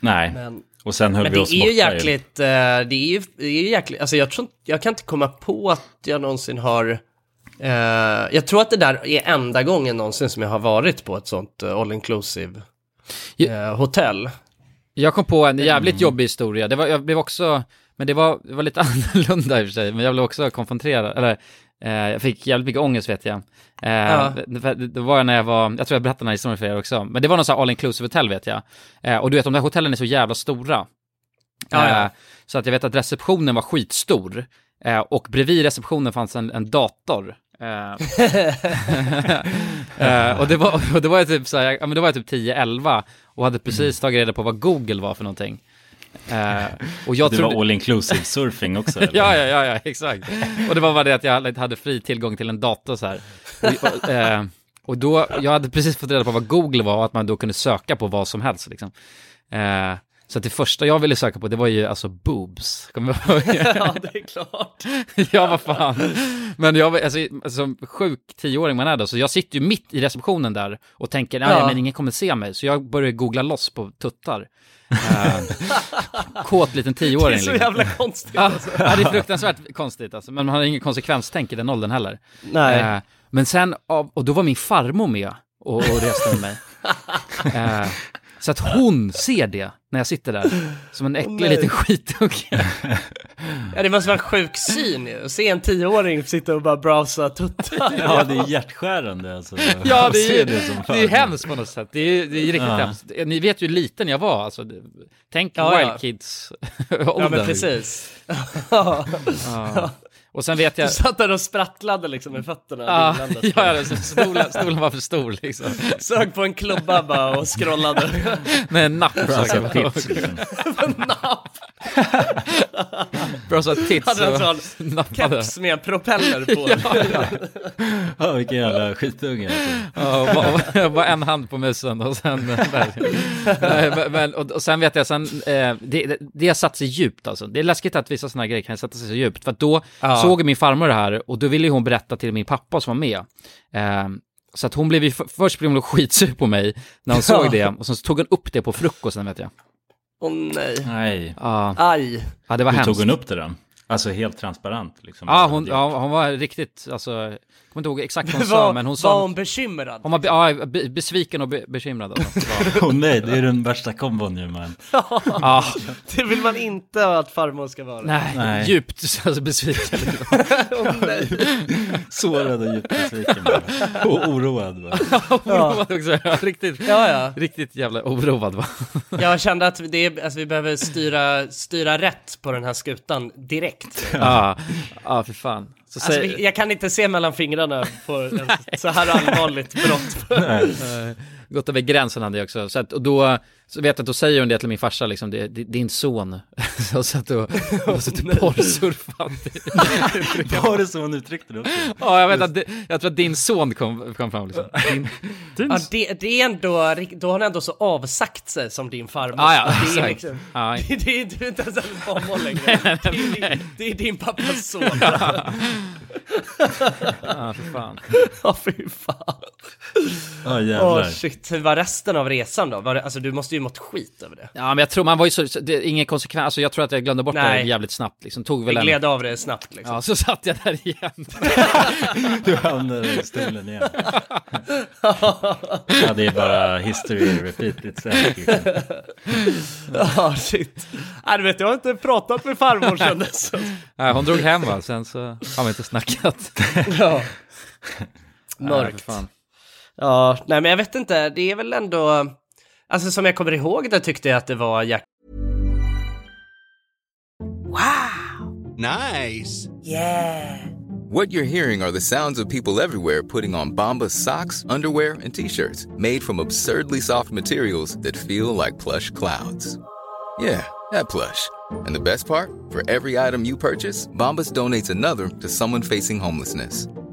Speaker 1: nej.
Speaker 2: Men,
Speaker 1: och sen höll
Speaker 2: men
Speaker 1: vi
Speaker 2: det
Speaker 1: oss
Speaker 2: är
Speaker 1: borta
Speaker 2: ju jäkligt, eh, det är ju, det är ju jäkligt, alltså jag, tror, inte- jag kan inte komma på att jag någonsin har Eh, jag tror att det där är enda gången någonsin som jag har varit på ett sånt eh, all inclusive eh, hotell.
Speaker 3: Jag kom på
Speaker 2: Mm.
Speaker 3: en jävligt jobbig historia. Det var, jag blev också, men det var, det var lite annorlunda i och för sig, men jag blev också konfronterad, eller eh, jag fick jävligt mycket ångest vet jag. Eh,
Speaker 2: Ja.
Speaker 3: det, för- det var när jag var, jag tror jag berättade den här historien för er också, men det var någon sån här all inclusive hotell vet jag. Eh, och du vet de där hotellen är så jävla stora.
Speaker 2: Ja, ja.
Speaker 3: Eh, Så att jag vet att receptionen var skitstor. Eh, och bredvid receptionen fanns en, en dator. Eh, Eh, och det var, och det var jag typ så här, ja, men det var jag typ 10-11 och hade
Speaker 1: Mm.
Speaker 3: precis tagit reda på vad Google var för någonting. Eh, och jag
Speaker 1: det
Speaker 3: trodde...
Speaker 1: var all inclusive surfing också. eller?
Speaker 3: ja, ja, ja, ja, exakt. Och det var bara det att jag inte hade fri tillgång till en dator så här. Och, och, eh, och då, jag hade precis fått reda på vad Google var och att man då kunde söka på vad som helst liksom. Eh, så att det första jag ville söka på det var ju alltså boobs, kommer jag ihåg.
Speaker 2: ja, det är klart.
Speaker 3: ja, vad fan. Men jag, var- alltså, som sjuk tioåring man är då, så jag sitter ju mitt i receptionen där och tänker, nej
Speaker 2: Ja.
Speaker 3: men ingen kommer se mig, så jag börjar googla loss på tuttar. Eh, kåt liten
Speaker 2: Det
Speaker 3: tioåring.
Speaker 2: är så
Speaker 3: liksom.
Speaker 2: jävla konstigt.
Speaker 3: Ja,
Speaker 2: Alltså.
Speaker 3: ja, det är fruktansvärt konstigt alltså. Men man har ingen konsekvenstänk i den åldern heller.
Speaker 2: Nej.
Speaker 3: Eh, men sen, av- och då var min farmor med och, och reste med mig. Eh, så att hon ser det när jag sitter där, som en äcklig
Speaker 2: nej.
Speaker 3: liten skitunge.
Speaker 2: Ja, det måste vara en sjuk syn ju. Att Se en tioåring sitta och bara browsa tuttar.
Speaker 1: Ja, det är hjärtskärande alltså.
Speaker 3: Ja,
Speaker 1: Jag
Speaker 3: det är ju
Speaker 1: ser
Speaker 3: det
Speaker 1: som fan.
Speaker 3: är ju hemskt på något sätt. Det är, ju- det är ju riktigt
Speaker 1: Ja.
Speaker 3: hemskt. Ni vet ju hur liten jag var, alltså. Det- Tänk
Speaker 2: Ja,
Speaker 3: Wild
Speaker 2: ja.
Speaker 3: Kids-åldern.
Speaker 2: Ja, men precis. Ja.
Speaker 3: Ja. Och sen vet jag...
Speaker 2: Du satt där och sprattlade liksom med fötterna.
Speaker 3: Ja,
Speaker 2: vinglandes.
Speaker 3: Ah. ja, ja, så stolen, stolen var för stor liksom.
Speaker 2: Sög på en klubba bara och scrollade.
Speaker 3: Med en napp. så
Speaker 1: Söka
Speaker 3: jag
Speaker 1: tips liksom.
Speaker 2: Napp.
Speaker 3: Bra så att tits
Speaker 2: Hade en
Speaker 3: och
Speaker 2: sån
Speaker 3: nappade.
Speaker 2: keps med en propeller på.
Speaker 1: Ja, vilken jävla skitunge. Alltså.
Speaker 3: Ja, och bara- och bara en hand på musen och sen... eh, där. Nej, men- men, och, och sen vet jag, sen, eh, det, det- det har satt sig djupt alltså. Det är läskigt att vissa sådana grejer kan sätta sig så djupt. För att då såg min farmor det här och då ville ju hon berätta till min pappa som var med. Eh, så att hon blev ju, för, först blev hon skitsur på mig när hon såg det och sen så tog hon upp det på frukosten vet jag.
Speaker 2: Åh nej.
Speaker 1: Nej,
Speaker 3: Ja,
Speaker 2: Aj.
Speaker 3: ja det var
Speaker 1: hur
Speaker 3: hemskt.
Speaker 1: tog hon upp det då? Alltså helt transparent liksom.
Speaker 3: Ja, hon, ja, hon var riktigt, alltså, jag kommer inte ihåg exakt vad hon sa,
Speaker 2: Var,
Speaker 3: men hon
Speaker 2: var
Speaker 3: sa...
Speaker 2: hon bekymrad?
Speaker 3: Hon var be, ja, be, besviken och be, bekymrad. Alltså.
Speaker 1: Åh nej, det är den värsta kombon ju man.
Speaker 3: Ja,
Speaker 2: Det vill man inte att farmor ska vara.
Speaker 3: nej,
Speaker 1: Nej.
Speaker 3: djupt alltså, besviken.
Speaker 2: Åh, nej.
Speaker 1: Sårad och djupt besviken. bara. Och oroad. Bara.
Speaker 3: oroad också. Ja, riktigt,
Speaker 2: Ja, ja.
Speaker 3: riktigt jävla oroad va?
Speaker 2: Jag kände att det är, alltså, vi behöver styra, styra rätt på den här skutan direkt.
Speaker 3: Ja, ja för fan. Så
Speaker 2: Alltså,
Speaker 3: säg-
Speaker 2: vi, jag kan inte se mellan fingrarna på en, så här allvarligt brott.
Speaker 3: Gått över gränsen hade jag också. Så att, och då, så vet jag att då säger hon det till min farsa liksom, det, det, din son. Så jag satt och, och satt och porrsurfade.
Speaker 1: Var det så hon uttryckte det också?
Speaker 3: Ja, jag vet att, det, jag tror att din son kom, kom fram liksom. Din,
Speaker 2: Ja, det, det är ändå, rik- då har han ändå så avsagt sig som din farmor.
Speaker 3: Ja, ja,
Speaker 2: det, är
Speaker 3: exakt.
Speaker 2: liksom,
Speaker 3: ja,
Speaker 2: det, det är du är inte ens en farmor längre. Det är, din, det är din pappas son. Ja,
Speaker 3: ja, för fan.
Speaker 2: fy fan.
Speaker 1: Ja,
Speaker 2: Åh
Speaker 1: jävlar.
Speaker 2: shit, hur var resten av resan då? Var det, alltså du måste ju mått skit över det.
Speaker 3: Ja, men jag tror man var ju så, så det, är ingen konsekvens, alltså jag tror att jag glömde bort det här
Speaker 2: Nej.
Speaker 3: jävligt snabbt liksom. Tog väl
Speaker 2: Det
Speaker 3: en...
Speaker 2: gled av det snabbt liksom.
Speaker 3: Ja, så satt jag där igen.
Speaker 1: Du hamnade i stolen igen. Ja, det är bara history repeat itself. Liksom.
Speaker 2: Ja, shit. Nej, du vet, jag har inte pratat med farmor sedan dess.
Speaker 3: Ja, hon drog hem va, sen så har vi inte snackat.
Speaker 2: Ja.
Speaker 3: Ja, för
Speaker 2: Mörkt.
Speaker 3: fan.
Speaker 2: Ja, nej men jag vet inte, det är väl ändå... Alltså som jag kommer ihåg det tyckte jag att det var Jack
Speaker 7: Nice!
Speaker 8: What you're hearing are the sounds of people everywhere putting on Bombas socks, underwear, and t-shirts made from absurdly soft materials that feel like plush clouds. Yeah, that plush. And the best part? For every item you purchase, Bombas donates another to someone facing homelessness.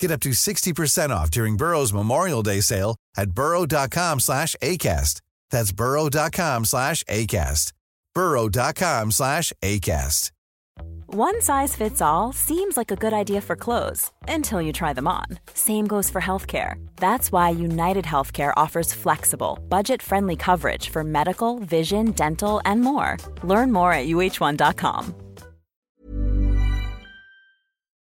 Speaker 9: Get up to 60% off during Burrow's Memorial Day sale at burrow.com slash ACAST. That's burrow.com slash ACAST. burrow.com slash ACAST.
Speaker 10: One size fits all seems like a good idea for clothes until you try them on. Same goes for healthcare. That's why United Healthcare offers flexible, budget friendly coverage for medical, vision, dental, and more. Learn more at uh1.com.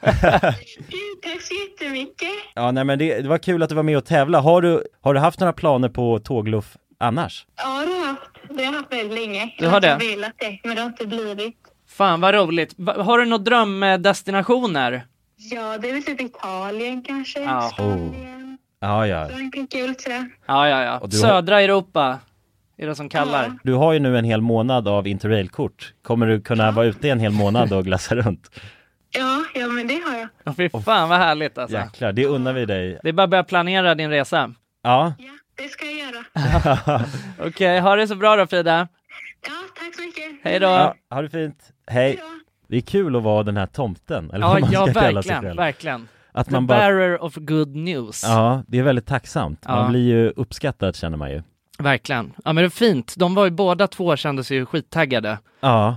Speaker 11: Gud, Tack så jättemycket.
Speaker 1: Ja, nej men det, det var kul att du var med och tävla. Har du, har du haft några planer på tågluff annars?
Speaker 11: Ja, det har jag haft. Det har jag haft väldigt länge.
Speaker 2: Du har det?
Speaker 11: Jag har velat det, men det har inte blivit.
Speaker 2: Fan vad roligt. Va- Har du några drömdestinationer?
Speaker 11: Ja, det är väl typ Italien kanske.
Speaker 2: Oh.
Speaker 1: Ja, ja.
Speaker 11: Frankrike, vill säga.
Speaker 2: Ja, ja, ja.
Speaker 1: Och du har-
Speaker 2: Södra Europa är det som kallar.
Speaker 1: Du har ju nu en hel månad av interrailkort. Kommer du kunna vara ute en hel månad och glassa runt?
Speaker 11: Ja, ja, men det har jag.
Speaker 2: Åh, Fy fan vad härligt alltså.
Speaker 1: Jäklar, det unnar vi dig.
Speaker 2: Det är bara att börja planera din resa.
Speaker 1: Ja.
Speaker 11: Det ska jag göra.
Speaker 2: Okej, ha det så bra då Frida.
Speaker 11: Ja, tack så mycket.
Speaker 2: Hej då.
Speaker 1: ja, ha det fint. Hej. Det är kul att vara den här tomten, eller
Speaker 2: Ja,
Speaker 1: vad man
Speaker 2: ja
Speaker 1: ska kalla sig
Speaker 2: verkligen,
Speaker 1: själv.
Speaker 2: verkligen.
Speaker 1: Att
Speaker 2: The
Speaker 1: man bara-
Speaker 2: bearer of good news.
Speaker 1: Ja, det är väldigt tacksamt.
Speaker 2: Ja.
Speaker 1: Man blir ju uppskattad känner man ju.
Speaker 2: Verkligen. Ja men det är fint. De var ju båda två kände sig ju skittaggade
Speaker 1: Ja,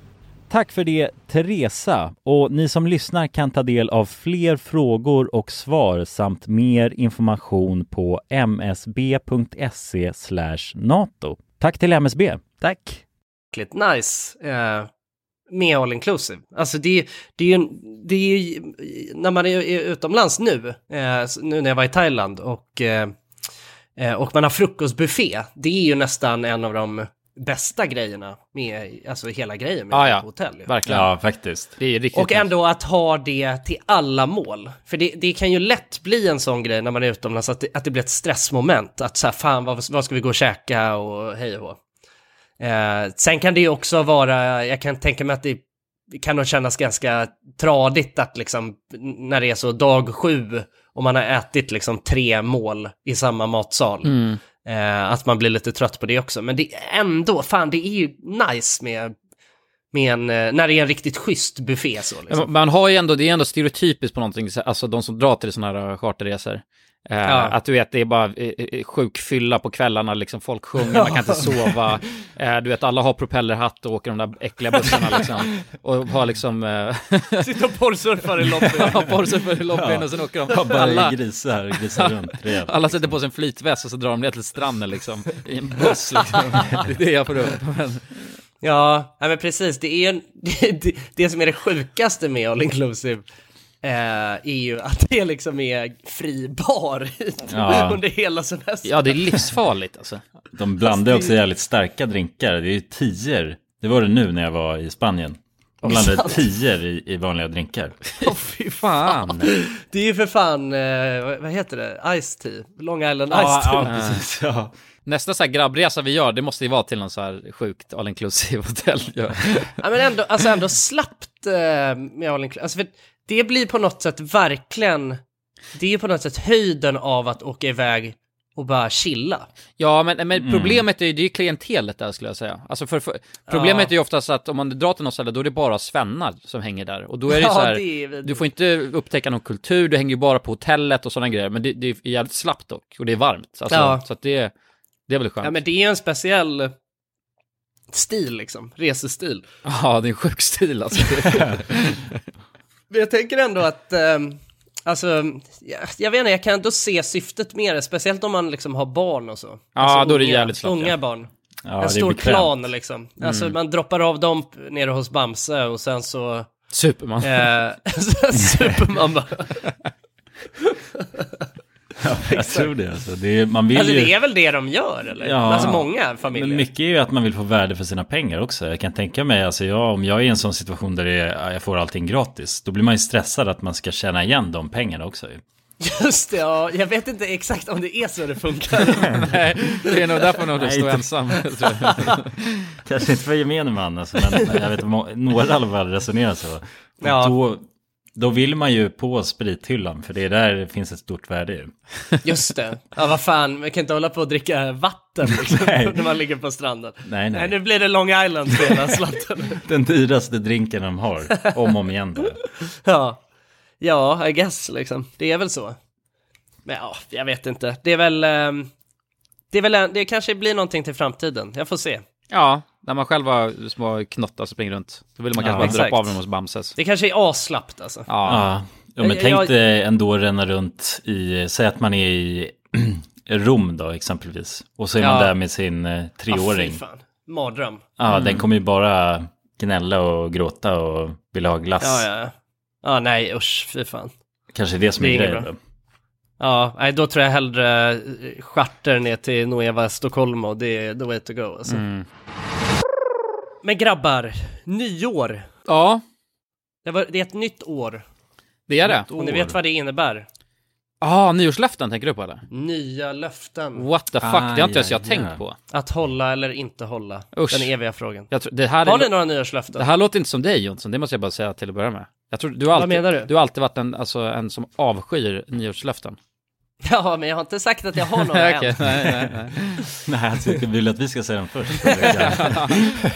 Speaker 12: Tack för det Teresa och ni som lyssnar kan ta del av fler frågor och svar samt mer information på msb.se E NATO. Tack till MSB.
Speaker 13: Tack.
Speaker 2: jäkligt nice eh, med all inclusive. Alltså det, det är ju, en- det är ju, när man är, är utomlands nu, eh, så nu när jag var i Thailand och, eh, eh, och man har frukostbuffé, det är ju nästan en av de bästa grejerna med, alltså hela grejen med
Speaker 1: Ja, ja.
Speaker 2: på hotell. ju.
Speaker 1: Ja, faktiskt.
Speaker 3: Det är
Speaker 2: Och ändå att ha det till alla mål. För det, det kan ju lätt bli en sån grej när man är utomlands att det, att det blir ett stressmoment. Att så här, fan vad, vad ska vi gå och käka och hej och hå. eh, Sen kan det ju också vara, jag kan tänka mig att det kan nog kännas ganska tradigt att liksom när det är så dag sju och man har ätit liksom tre mål i samma matsal.
Speaker 3: Mm.
Speaker 2: Eh, att man blir lite trött på det också. Men det är ändå, fan det är ju nice med, med en, eh, när det är en riktigt schysst buffé så liksom.
Speaker 3: Ja, men Man har ju ändå, det är ändå stereotypiskt på någonting, så- alltså de som drar till sådana här äh, charterresor. Eh,
Speaker 2: Ja.
Speaker 3: Att du vet, det är bara eh, eh, sjukfylla på kvällarna, liksom folk sjunger, man kan inte sova. Eh, du vet, alla har propellerhatt och åker de där äckliga bussarna liksom. Och har liksom... Eh,
Speaker 2: Sitter och porrsurfar i lobbyn.
Speaker 3: ja, porrsurfar i lobbyn
Speaker 1: Ja.
Speaker 3: och sen åker
Speaker 1: Ja,
Speaker 3: de.
Speaker 1: bara grisar, grisar runt rejält,
Speaker 3: alla sätter på sig en flytväst och så drar de ner till stranden liksom. I en buss liksom. Det är det jag får upp. Men,
Speaker 2: Ja, nej, men precis. Det, är en, det, det, det som är det sjukaste med all inclusive eh, är ju att det liksom är fri bar
Speaker 1: Ja.
Speaker 2: under hela semestern.
Speaker 3: livsfarligt alltså.
Speaker 1: De blandar också jävligt starka drinkar. Det är ju tior. Det var det nu när jag var i Spanien. De blandade
Speaker 2: sant?
Speaker 1: tior i, i vanliga drinkar.
Speaker 2: Fy
Speaker 3: fan.
Speaker 2: Det är ju för fan, eh, vad- vad heter det, Ice Tea, Long Island Ice Tea.
Speaker 3: Nästa så här grabbresa vi gör, det måste ju vara till någon så här sjukt all inclusive hotell. Ja.
Speaker 2: Ja, men ändå, alltså ändå slappt eh, med all inclusive. Alltså för det blir på något sätt verkligen, det är ju på något sätt höjden av att åka iväg och bara chilla.
Speaker 3: Ja, men, men
Speaker 2: Mm.
Speaker 3: problemet är ju, det är ju klientelet där skulle jag säga. Alltså för, för, problemet
Speaker 2: Ja.
Speaker 3: är ju oftast att om man drar till något ställe, då är det bara svennar som hänger där. Och då är det ju
Speaker 2: Ja,
Speaker 3: så här,
Speaker 2: det är vidrigt.
Speaker 3: du får inte upptäcka någon kultur, du hänger ju bara på hotellet och sådana grejer. Men det, det är jävligt slappt dock, och det är varmt. Alltså,
Speaker 2: Ja.
Speaker 3: Så att det, det är väl skönt.
Speaker 2: Ja, men det är ju en speciell stil liksom, resestil.
Speaker 3: Ja, det är en sjuk stil alltså. Det-
Speaker 2: Men jag tänker ändå att, ehm, alltså, jag, jag vet inte, jag kan ändå se syftet med det, speciellt om man liksom har barn och så.
Speaker 3: Ja,
Speaker 2: alltså,
Speaker 3: då är det jävligt slappt,
Speaker 2: Unga
Speaker 3: ja.
Speaker 2: barn.
Speaker 3: Ja, det är
Speaker 2: en stor
Speaker 3: bekvämt.
Speaker 2: plan liksom. Alltså
Speaker 3: Mm.
Speaker 2: man droppar av dem p- nere hos Bamse och sen så...
Speaker 3: Super man.
Speaker 2: Eh, så super man bara.
Speaker 1: Jag tror det alltså. Det är, man vill
Speaker 2: alltså
Speaker 1: ju...
Speaker 2: det är väl det de gör eller? Alltså många familjer.
Speaker 1: Men mycket är ju att man vill få värde för sina pengar också. Jag kan tänka mig, alltså jag, om jag är i en sån situation där det är, jag får allting gratis, då blir man ju stressad att man ska tjäna igen de pengarna också. ju.
Speaker 2: Just det, ja. Jag vet inte exakt om det är så det funkar.
Speaker 3: Nej, det är nog därför någon
Speaker 1: Nej,
Speaker 3: står
Speaker 1: inte-
Speaker 3: ensam. tror jag.
Speaker 1: Kanske inte för gemene man alltså, men jag vet må- några i alla fall resonerar så. Och
Speaker 2: Ja.
Speaker 1: Då, då vill man ju på sprithyllan, för det är där det finns ett stort värde ju.
Speaker 2: Just det. Ja, vad fan, man kan inte hålla på och dricka vatten liksom, när man ligger på stranden.
Speaker 1: Nej, nej.
Speaker 2: nu blir det Long Island för hela slanten.
Speaker 1: Den dyraste drinken de har, om och om igen då.
Speaker 2: ja. ja, I guess liksom. Det är väl så. Men ja, jag vet inte. Det är väl... ehm, det, är väl en, det kanske blir någonting till framtiden. Jag får se.
Speaker 3: Ja, när man själv har små knottar som springer runt. Då vill man kanske
Speaker 1: Ja,
Speaker 3: bara
Speaker 1: exakt.
Speaker 3: droppa av dem hos Bamses.
Speaker 2: Det kanske är aslappt alltså.
Speaker 1: Ja, ja men
Speaker 2: Jag-
Speaker 1: tänk
Speaker 2: jag-
Speaker 1: dig ändå ränna runt i, säg att man är i Rom då exempelvis. Och så är man
Speaker 2: Ja.
Speaker 1: där med sin eh, treåring.
Speaker 2: Ah, fy fan. Mardröm.
Speaker 1: Ja,
Speaker 2: Mm.
Speaker 1: den kommer ju bara gnälla och gråta och vilja ha glass.
Speaker 2: Ja, ja, ja. Ja, nej usch, fy fan.
Speaker 1: Kanske det som är
Speaker 2: inget
Speaker 1: grejen
Speaker 2: bra.
Speaker 1: då.
Speaker 2: Ja, nej, då tror jag hellre eh, charter ner till Nueva Stockholm och det är the way to go alltså.
Speaker 3: Mm.
Speaker 2: Men grabbar, nyår.
Speaker 3: Ja.
Speaker 2: Det, var, det är ett nytt år.
Speaker 3: Det är det.
Speaker 2: Nytt Och ni vet vad det innebär?
Speaker 3: Ja, ah, nyårslöften tänker du på eller?
Speaker 2: Nya löften.
Speaker 3: What the fuck, det har inte ens jag tänkt på.
Speaker 2: Att hålla eller inte hålla.
Speaker 3: Usch.
Speaker 2: Den eviga frågan.
Speaker 3: Jag tror, det här
Speaker 2: Har
Speaker 3: är-
Speaker 2: ni några nyårslöften?
Speaker 3: Det här låter inte som dig Jonsson, det måste jag bara säga till att börja med. Jag tror du har
Speaker 2: Vad
Speaker 3: alltid,
Speaker 2: menar du?
Speaker 3: du har alltid varit en, alltså, en som avskyr nyårslöften.
Speaker 2: Ja, men jag har inte sagt att jag har några
Speaker 3: Okej,
Speaker 2: än.
Speaker 3: nej, nej, nej.
Speaker 1: Nej, alltså, jag tycker- vill att vi ska säga den först.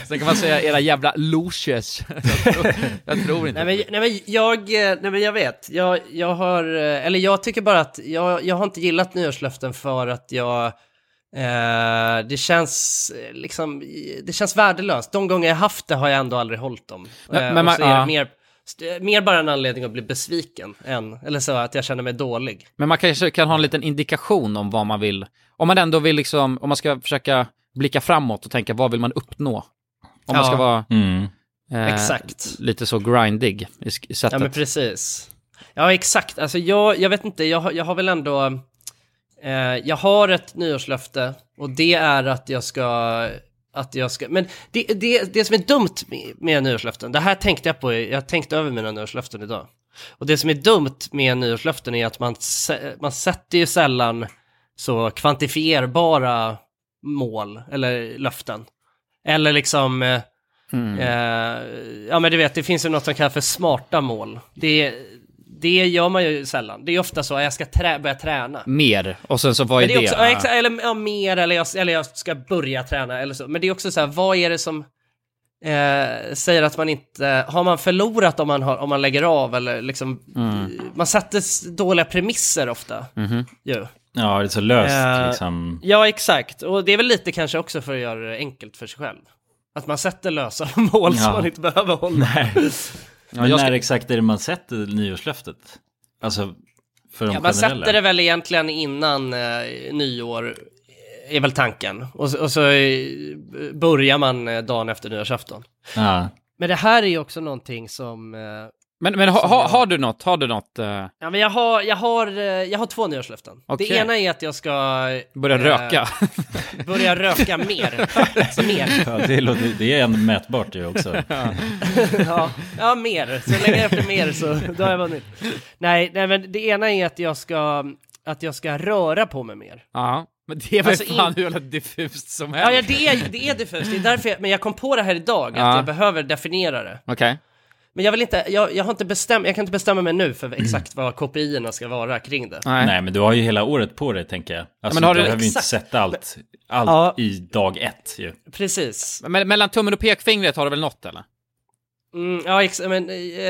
Speaker 3: Sen kan man säga era jävla losers. Jag tror, jag tror inte.
Speaker 2: Nej men, nej, men jag, eh, nej men jag vet, jag, jag har, eh, eller jag tycker bara att jag, jag har inte gillat nyårslöften för att jag, eh, det känns eh, liksom, det känns värdelöst. De gånger jag haft det har jag ändå aldrig hållit dem.
Speaker 3: Men-
Speaker 2: eh,
Speaker 3: men
Speaker 2: och
Speaker 3: man-
Speaker 2: så är
Speaker 3: ja.
Speaker 2: det mer, st- mer bara en anledning att bli besviken än, eller så att jag känner mig dålig.
Speaker 3: Men man kanske kan ha en liten indikation om vad man vill. Om man ändå vill liksom, om man ska försöka blicka framåt och tänka vad vill man uppnå? Om
Speaker 2: Ja.
Speaker 3: man ska vara eh,
Speaker 1: Mm.
Speaker 2: Exakt.
Speaker 3: lite så grindig i, sk- i sättet.
Speaker 2: Ja men precis. Ja exakt, alltså jag, jag vet inte, jag, har- jag har väl ändå, eh, jag har ett nyårslöfte och det är att jag ska, att jag ska, men det, det, det som är dumt med, med nyårslöften, det här tänkte jag på, jag tänkte över mina nyårslöften idag. Och det som är dumt med nyårslöften är att man, sä- man sätter ju sällan så kvantifierbara mål eller löften. Eller liksom, eh, Eh, ja men du vet, det finns ju något som kallas för smarta mål. Det, det gör man ju sällan. Det är ofta så att jag ska trä, börja träna.
Speaker 3: Mer, och sen så vad är
Speaker 2: men det är också, ja,
Speaker 3: det?
Speaker 2: exa- eller ja, mer, eller jag, eller jag ska börja träna eller så. Men det är också så här, vad är det som eh, säger att man inte, har man förlorat om man, har, om man lägger av eller liksom,
Speaker 1: Mm.
Speaker 2: man sätter s- dåliga premisser ofta.
Speaker 1: Mhm.
Speaker 2: Ju.
Speaker 1: Ja, det är så löst
Speaker 2: Eh,
Speaker 1: liksom.
Speaker 2: Ja, exakt. Och det är väl lite kanske också för att göra det enkelt för sig själv. Att man sätter lösa mål
Speaker 1: Ja.
Speaker 2: som man inte behöver hålla.
Speaker 1: Men
Speaker 2: jag ska-
Speaker 1: när exakt är det man sätter nyårslöftet? Alltså, för de
Speaker 2: Ja, man
Speaker 1: generella?
Speaker 2: sätter det väl egentligen innan eh, nyår, eh, är väl tanken. Och, så- och så eh, börjar man eh, dagen efter nyårsafton.
Speaker 1: Ja.
Speaker 2: Men det här är ju också någonting som... eh,
Speaker 3: Men, men ha, ha, har du något? Har du något? eh,
Speaker 2: Ja, men jag, har, jag, har, eh, jag har två nyårslöften.
Speaker 3: Okej.
Speaker 2: Det ena är att jag ska... eh,
Speaker 3: Börja röka.
Speaker 2: Börja röka mer. mer.
Speaker 1: Ja, det, låter, det är ändå mätbart det också.
Speaker 2: ja, ja, mer. Så länge jag efter mer så då har jag vunnit. Nej, nej, men det ena är att jag ska, att jag ska röra på mig mer.
Speaker 3: Ja, men det är väl
Speaker 2: Alltså,
Speaker 3: fan
Speaker 2: in-
Speaker 3: hur jävla diffust som helst.
Speaker 2: Ja, ja det, är, det är diffust. Det är därför jag, men jag kom på det här idag, att
Speaker 3: Ja.
Speaker 2: jag behöver definiera det.
Speaker 3: Okej.
Speaker 2: Men jag vill inte, jag, jag har inte bestämt, jag kan inte bestämma mig nu för exakt vad KPI-erna ska vara kring det.
Speaker 1: Nej. men du har ju hela året på dig tänker jag. Alltså,
Speaker 3: men har
Speaker 1: du
Speaker 3: du-
Speaker 1: behöver ju inte
Speaker 2: exakt.
Speaker 1: sätta allt, allt
Speaker 2: Ja.
Speaker 1: i dag ett ju.
Speaker 2: Precis.
Speaker 3: Men mellan tummen och pekfingret har du väl något eller?
Speaker 2: Mm, ja, ex- men eh,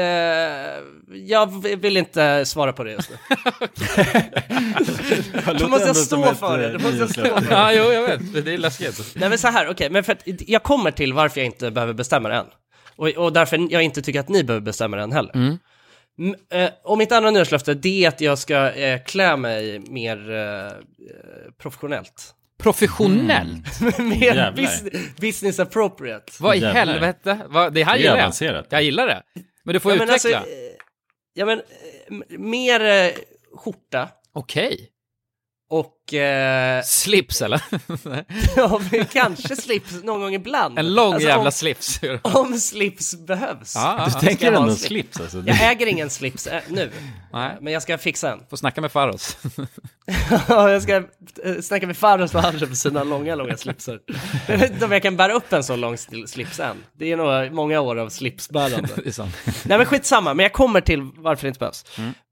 Speaker 2: jag v- vill inte svara på det just nu. Då måste jag stå för det. Då måste jag stå för det.
Speaker 3: ja, jo, jag vet. Det är läskigt.
Speaker 2: Nej men så här, okej, men för att jag kommer till varför jag inte behöver bestämma det än. Och, och därför jag inte tycker att ni behöver bestämma det än heller.
Speaker 3: Mm.
Speaker 2: Mm, eh, och mitt andra nyårslöfte, det är att jag ska eh, klä mig mer eh, professionellt.
Speaker 3: Professionell?
Speaker 1: Mm.
Speaker 2: mer
Speaker 3: Jävlar.
Speaker 2: business, business appropriate.
Speaker 3: Vad i helvete? Vad, det här
Speaker 1: Det är
Speaker 3: gillar jag.
Speaker 1: avancerat.
Speaker 3: Jag gillar det. Men du får
Speaker 2: Ja, men
Speaker 3: utveckla.
Speaker 2: alltså, eh, ja men, eh, m- mer eh, skjorta.
Speaker 3: Okej.
Speaker 2: Och... Eh,
Speaker 3: Slips eller?
Speaker 2: ja, men kanske slips någon gång ibland.
Speaker 3: En lång
Speaker 2: Alltså,
Speaker 3: jävla
Speaker 2: om,
Speaker 3: slips.
Speaker 2: Om slips behövs.
Speaker 3: Ja, ja,
Speaker 2: så
Speaker 3: ja.
Speaker 2: ska
Speaker 3: Du tänker
Speaker 2: jag ha
Speaker 3: ändå
Speaker 2: en
Speaker 3: slips, alltså.
Speaker 2: Jag äger ingen slips eh, nu,
Speaker 3: Nej.
Speaker 2: men jag ska fixa en.
Speaker 3: Får snacka med Faros.
Speaker 2: Ja, jag ska eh, snacka med Farros och han köper sina långa, långa slipsar. Jag vet inte om jag kan bära upp en så lång stil- slips än. Det är nog många år av slipsbärande.
Speaker 3: Det är sant.
Speaker 2: Nej men skitsamma, men jag kommer till varför det inte behövs.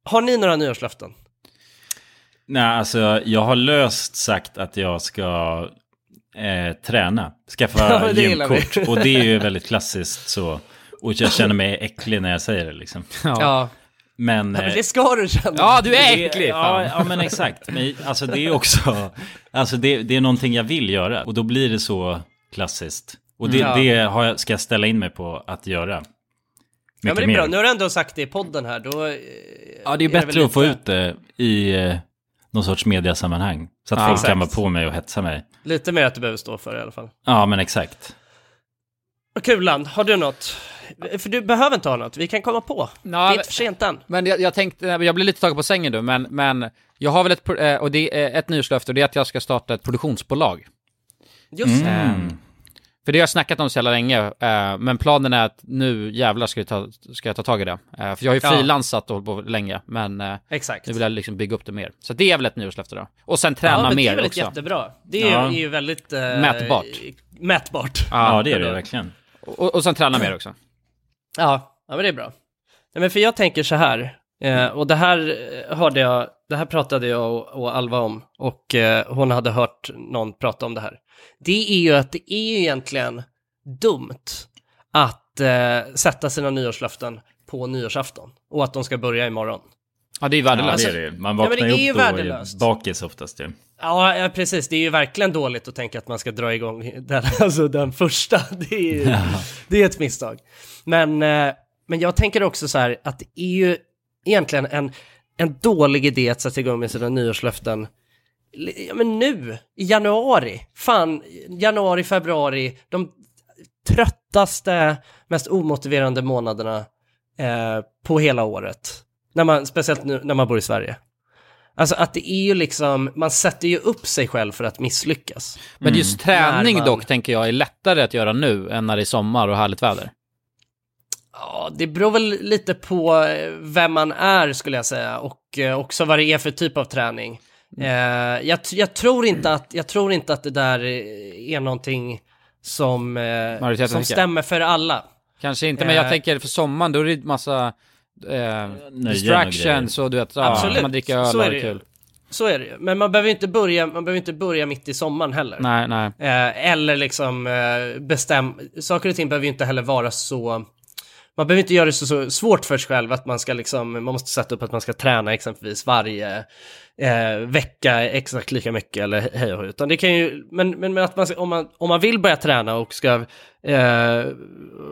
Speaker 2: Har ni några nyårslöften?
Speaker 1: Nej, alltså jag har löst sagt att jag ska eh, träna.
Speaker 2: Ja,
Speaker 1: Skaffa
Speaker 2: men det gillar vi.
Speaker 1: gymkort. Och det är ju väldigt klassiskt så. Och jag känner mig äcklig när jag säger det liksom.
Speaker 2: Ja.
Speaker 1: Men,
Speaker 2: Ja, men
Speaker 1: eh,
Speaker 2: det ska du känna.
Speaker 3: Ja, du är
Speaker 1: det-
Speaker 3: äcklig,
Speaker 1: Ja,
Speaker 3: fan.
Speaker 1: ja, men exakt. Men, alltså det är också, alltså det, det är någonting jag vill göra. Och då blir det så klassiskt. Och det,
Speaker 2: Mm.
Speaker 1: det har jag, ska jag ställa in mig på att göra. Mycket
Speaker 2: ja men det är
Speaker 1: mer.
Speaker 2: bra, nu har du ändå sagt det i podden här, då... eh,
Speaker 1: Ja, det är
Speaker 2: väl
Speaker 1: bättre att få
Speaker 2: lite-
Speaker 1: ut det i eh, någon sorts mediasammanhang. Så att
Speaker 2: Ja,
Speaker 1: folk
Speaker 2: exakt.
Speaker 1: kan vara på mig och hetsa mig.
Speaker 2: Lite mer att du behöver stå för i alla fall.
Speaker 1: Ja, men exakt.
Speaker 2: Och Kulan, har du något? För du behöver inte ha något, vi kan komma på. det är inte för sent än.
Speaker 3: Men jag, jag tänkte, jag blev lite tagen på sängen då, men, men jag har väl ett, pro- eh, och det är ett nyårslöfte och det är att jag ska starta ett produktionsbolag.
Speaker 2: Just det.
Speaker 3: Eh, För det har jag snackat om så jävla länge, eh, men planen är att nu jävlar ska jag ta, ska jag ta tag i det. Eh, För jag har ju
Speaker 2: Ja.
Speaker 3: frilansat och hållit på länge, men eh,
Speaker 2: Exakt.
Speaker 3: nu vill jag liksom bygga upp det mer. Så det är väl ett nyårslöfte då. Och sen träna
Speaker 2: ja, men Det är
Speaker 3: mer
Speaker 2: väl
Speaker 3: också.
Speaker 2: ett jättebra. Det är,
Speaker 3: Ja.
Speaker 2: ju, är ju väldigt... eh,
Speaker 3: Mätbart.
Speaker 2: Mätbart.
Speaker 1: Ja, det är det verkligen.
Speaker 3: Och, och sen träna mer också.
Speaker 2: Ja, ja men det är bra. Nej, men för jag tänker så här, eh, och det här eh, hörde jag, det här pratade jag och, och Alva om, och eh, hon hade hört någon prata om det här. Det är ju att det är ju egentligen dumt att eh, sätta sina nyårslöften på nyårsafton och att de ska börja imorgon.
Speaker 3: Ja, det är ju
Speaker 1: Ja,
Speaker 3: värdelöst.
Speaker 1: det är det. ju. Man
Speaker 2: Ja, men
Speaker 1: vaknar
Speaker 2: det är ju
Speaker 1: upp då och
Speaker 2: värdelöst.
Speaker 1: är bakis oftast ju.
Speaker 2: Ja, ja, precis. Det är ju verkligen dåligt att tänka att man ska dra igång den, alltså den första. Det är ju det är ett misstag. Men, eh, men jag tänker också så här att det är ju egentligen en, en dålig idé att sätta igång med sina nyårslöften li- ja, men nu, i januari. Fan, januari, februari, de tröttaste, mest omotiverande månaderna eh, på hela året. När man, speciellt nu när man bor i Sverige. Alltså att det är ju liksom, man sätter ju upp sig själv för att misslyckas.
Speaker 3: Men just träning
Speaker 2: När man-
Speaker 3: dock tänker jag är lättare att göra nu än när det är sommar och härligt väder.
Speaker 2: Ja, det beror väl lite på eh, vem man är skulle jag säga och eh, också vad det är för typ av träning. Eh, jag, t- jag, tror inte att, jag tror inte att det där eh, är någonting som, eh,
Speaker 3: Majoriteten
Speaker 2: som
Speaker 3: tycker.
Speaker 2: stämmer för alla.
Speaker 3: Kanske inte, men jag
Speaker 2: Eh.
Speaker 3: tänker för sommaren då är det massa eh, distractions och du vet, ja,
Speaker 2: Absolut,
Speaker 3: man dricker öl
Speaker 2: så
Speaker 3: och
Speaker 2: är
Speaker 3: har
Speaker 2: det ju.
Speaker 3: kul.
Speaker 2: Så är det ju. Men man behöver ju inte börja, man behöver inte börja mitt i sommaren heller.
Speaker 3: Nej, nej.
Speaker 2: Eh, eller liksom eh, bestäm... Saker och ting behöver ju inte heller vara så... Man behöver inte göra det så, så svårt för sig själv att man ska liksom, man måste sätta upp att man ska träna exempelvis varje eh, vecka exakt lika mycket eller hej och hå. utan det kan ju, men, men, men att man, ska- om, man, om man vill börja träna och ska, eh,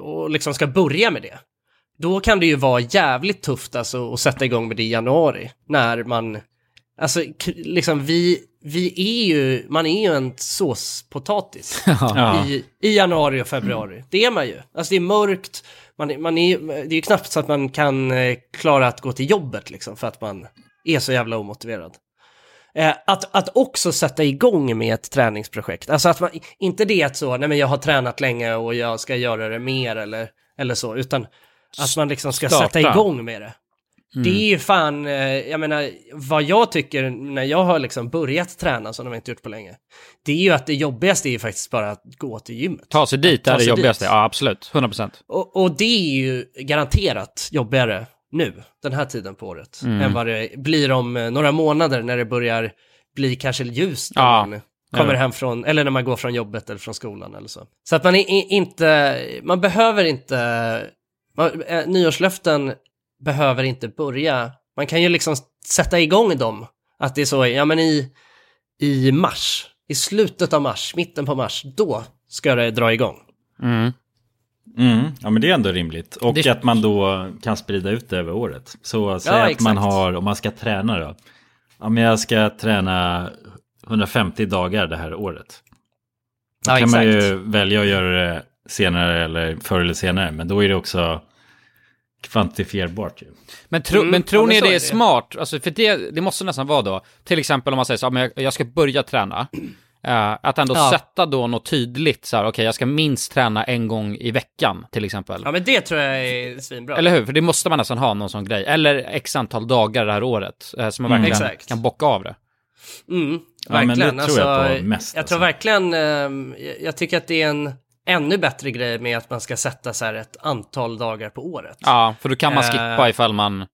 Speaker 2: och liksom ska börja med det, då kan det ju vara jävligt tufft alltså att sätta igång med det i januari, när man, alltså k- liksom vi, vi är ju, man är ju en såspotatis
Speaker 3: Ja.
Speaker 2: i, i januari och februari. Det är man ju. Alltså det är mörkt, man, är- man är, det är ju knappt så att man kan eh, klara att gå till jobbet liksom för att man är så jävla omotiverad. Eh, att, att också sätta igång med ett träningsprojekt. Alltså att man, inte det att så, nej men jag har tränat länge och jag ska göra det mer eller, eller så, utan att man liksom ska
Speaker 3: Starta. Mm.
Speaker 2: sätta igång med det. Det är ju fan, eh, jag menar, vad jag tycker när jag har liksom börjat träna som de inte gjort på länge, det är ju att det jobbigaste är ju faktiskt bara att gå till gymmet.
Speaker 3: Ta sig dit, det
Speaker 2: Ta
Speaker 3: är det
Speaker 2: sig
Speaker 3: jobbigaste.
Speaker 2: dit.
Speaker 3: Ja, absolut. 100 procent.
Speaker 2: Och, och det är ju garanterat jobbigare nu, den här tiden på året,
Speaker 3: Mm.
Speaker 2: än vad det blir om eh, några månader när det börjar bli kanske ljust när
Speaker 3: Ja.
Speaker 2: man kommer
Speaker 3: Ja.
Speaker 2: hem från, eller när man går från jobbet eller från skolan eller så. Så att man är i- inte, man behöver inte, man, eh, nyårslöften behöver inte börja, man kan ju liksom sätta igång dem, att det är så, ja men i, i mars, i slutet av mars, mitten på mars, då ska det dra igång.
Speaker 3: Mm.
Speaker 1: Mm. Ja, men det är ändå rimligt. Och
Speaker 2: Det-
Speaker 1: att man då kan sprida ut det över året. Så säg att
Speaker 2: exakt.
Speaker 1: man har, om man ska träna då. Ja, men jag ska träna 150 dagar det här året. Då
Speaker 2: Ja,
Speaker 1: kan man
Speaker 2: exakt.
Speaker 1: ju välja att göra det senare eller förr eller senare. Men då är det också kvantifierbart ju.
Speaker 3: Men, tro,
Speaker 1: Mm,
Speaker 3: men
Speaker 1: ja,
Speaker 3: tror
Speaker 1: men
Speaker 3: ni
Speaker 1: så
Speaker 3: det är,
Speaker 1: är det.
Speaker 3: smart? Alltså för det, det måste nästan vara då, till exempel om man säger så, ja, men jag, jag ska börja träna. Eh, att ändå
Speaker 2: Ja.
Speaker 3: sätta då något tydligt, så här, okej, jag ska minst träna en gång i veckan, till exempel.
Speaker 2: Ja men det tror jag är svinbra.
Speaker 3: Eller hur? För det måste man nästan ha någon sån grej. Eller x antal dagar det här året, eh, så man
Speaker 2: Mm.
Speaker 3: verkligen
Speaker 2: Exakt.
Speaker 3: kan bocka av det.
Speaker 2: Mm,
Speaker 3: Ja, men det
Speaker 2: verkligen.
Speaker 3: tror jag
Speaker 2: alltså,
Speaker 3: på mest,
Speaker 2: Jag tror verkligen, ehm, jag- jag tycker att det är en ännu bättre grej med att man ska sätta så här ett antal dagar på året.
Speaker 3: Ja, för då kan man
Speaker 2: Eh,
Speaker 3: skippa ifall man...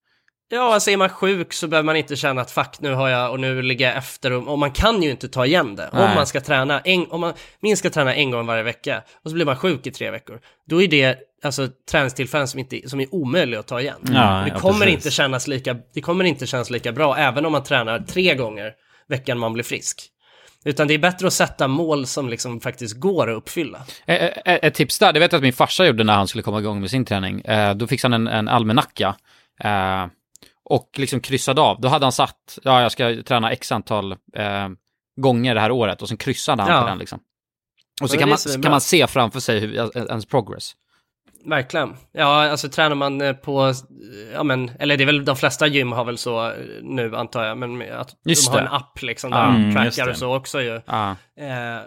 Speaker 2: Ja, alltså är man sjuk så behöver man inte känna att fuck nu har jag och nu ligger jag efter och, och man kan ju inte ta igen det.
Speaker 3: Nej.
Speaker 2: Om man ska träna, en, om man minst ska träna en gång varje vecka och så blir man sjuk i tre veckor, då är det alltså träningstillfällen som, inte, som är omöjliga att ta igen.
Speaker 1: Ja,
Speaker 2: det,
Speaker 1: ja,
Speaker 2: kommer
Speaker 1: precis.
Speaker 2: inte kännas lika, det kommer inte kännas lika bra även om man tränar tre gånger veckan man blir frisk. Utan det är bättre att sätta mål som liksom faktiskt går att uppfylla.
Speaker 3: Eh, eh, eh, Ett tips där, det vet jag att min farsa gjorde när han skulle komma igång med sin träning. Eh, Då fixade han en, en almanacka eh, och liksom kryssade av. Då hade han satt, ja jag ska träna x antal eh, gånger det här året och sen kryssade han
Speaker 2: Ja.
Speaker 3: på den liksom. Och så
Speaker 2: Ja,
Speaker 3: kan
Speaker 2: det är
Speaker 3: man,
Speaker 2: svinbra.
Speaker 3: kan man se framför sig hur, ens progress.
Speaker 2: Verkligen. Ja, alltså tränar man eh, på, eh, ja men, eller det är väl de flesta gym har väl så eh, nu antar jag, men med att
Speaker 3: Just
Speaker 2: de har
Speaker 3: det.
Speaker 2: en app liksom där
Speaker 3: Ah,
Speaker 2: de
Speaker 3: mm, just
Speaker 2: trackar
Speaker 3: det.
Speaker 2: och så också ju.
Speaker 3: Ah.
Speaker 2: Eh,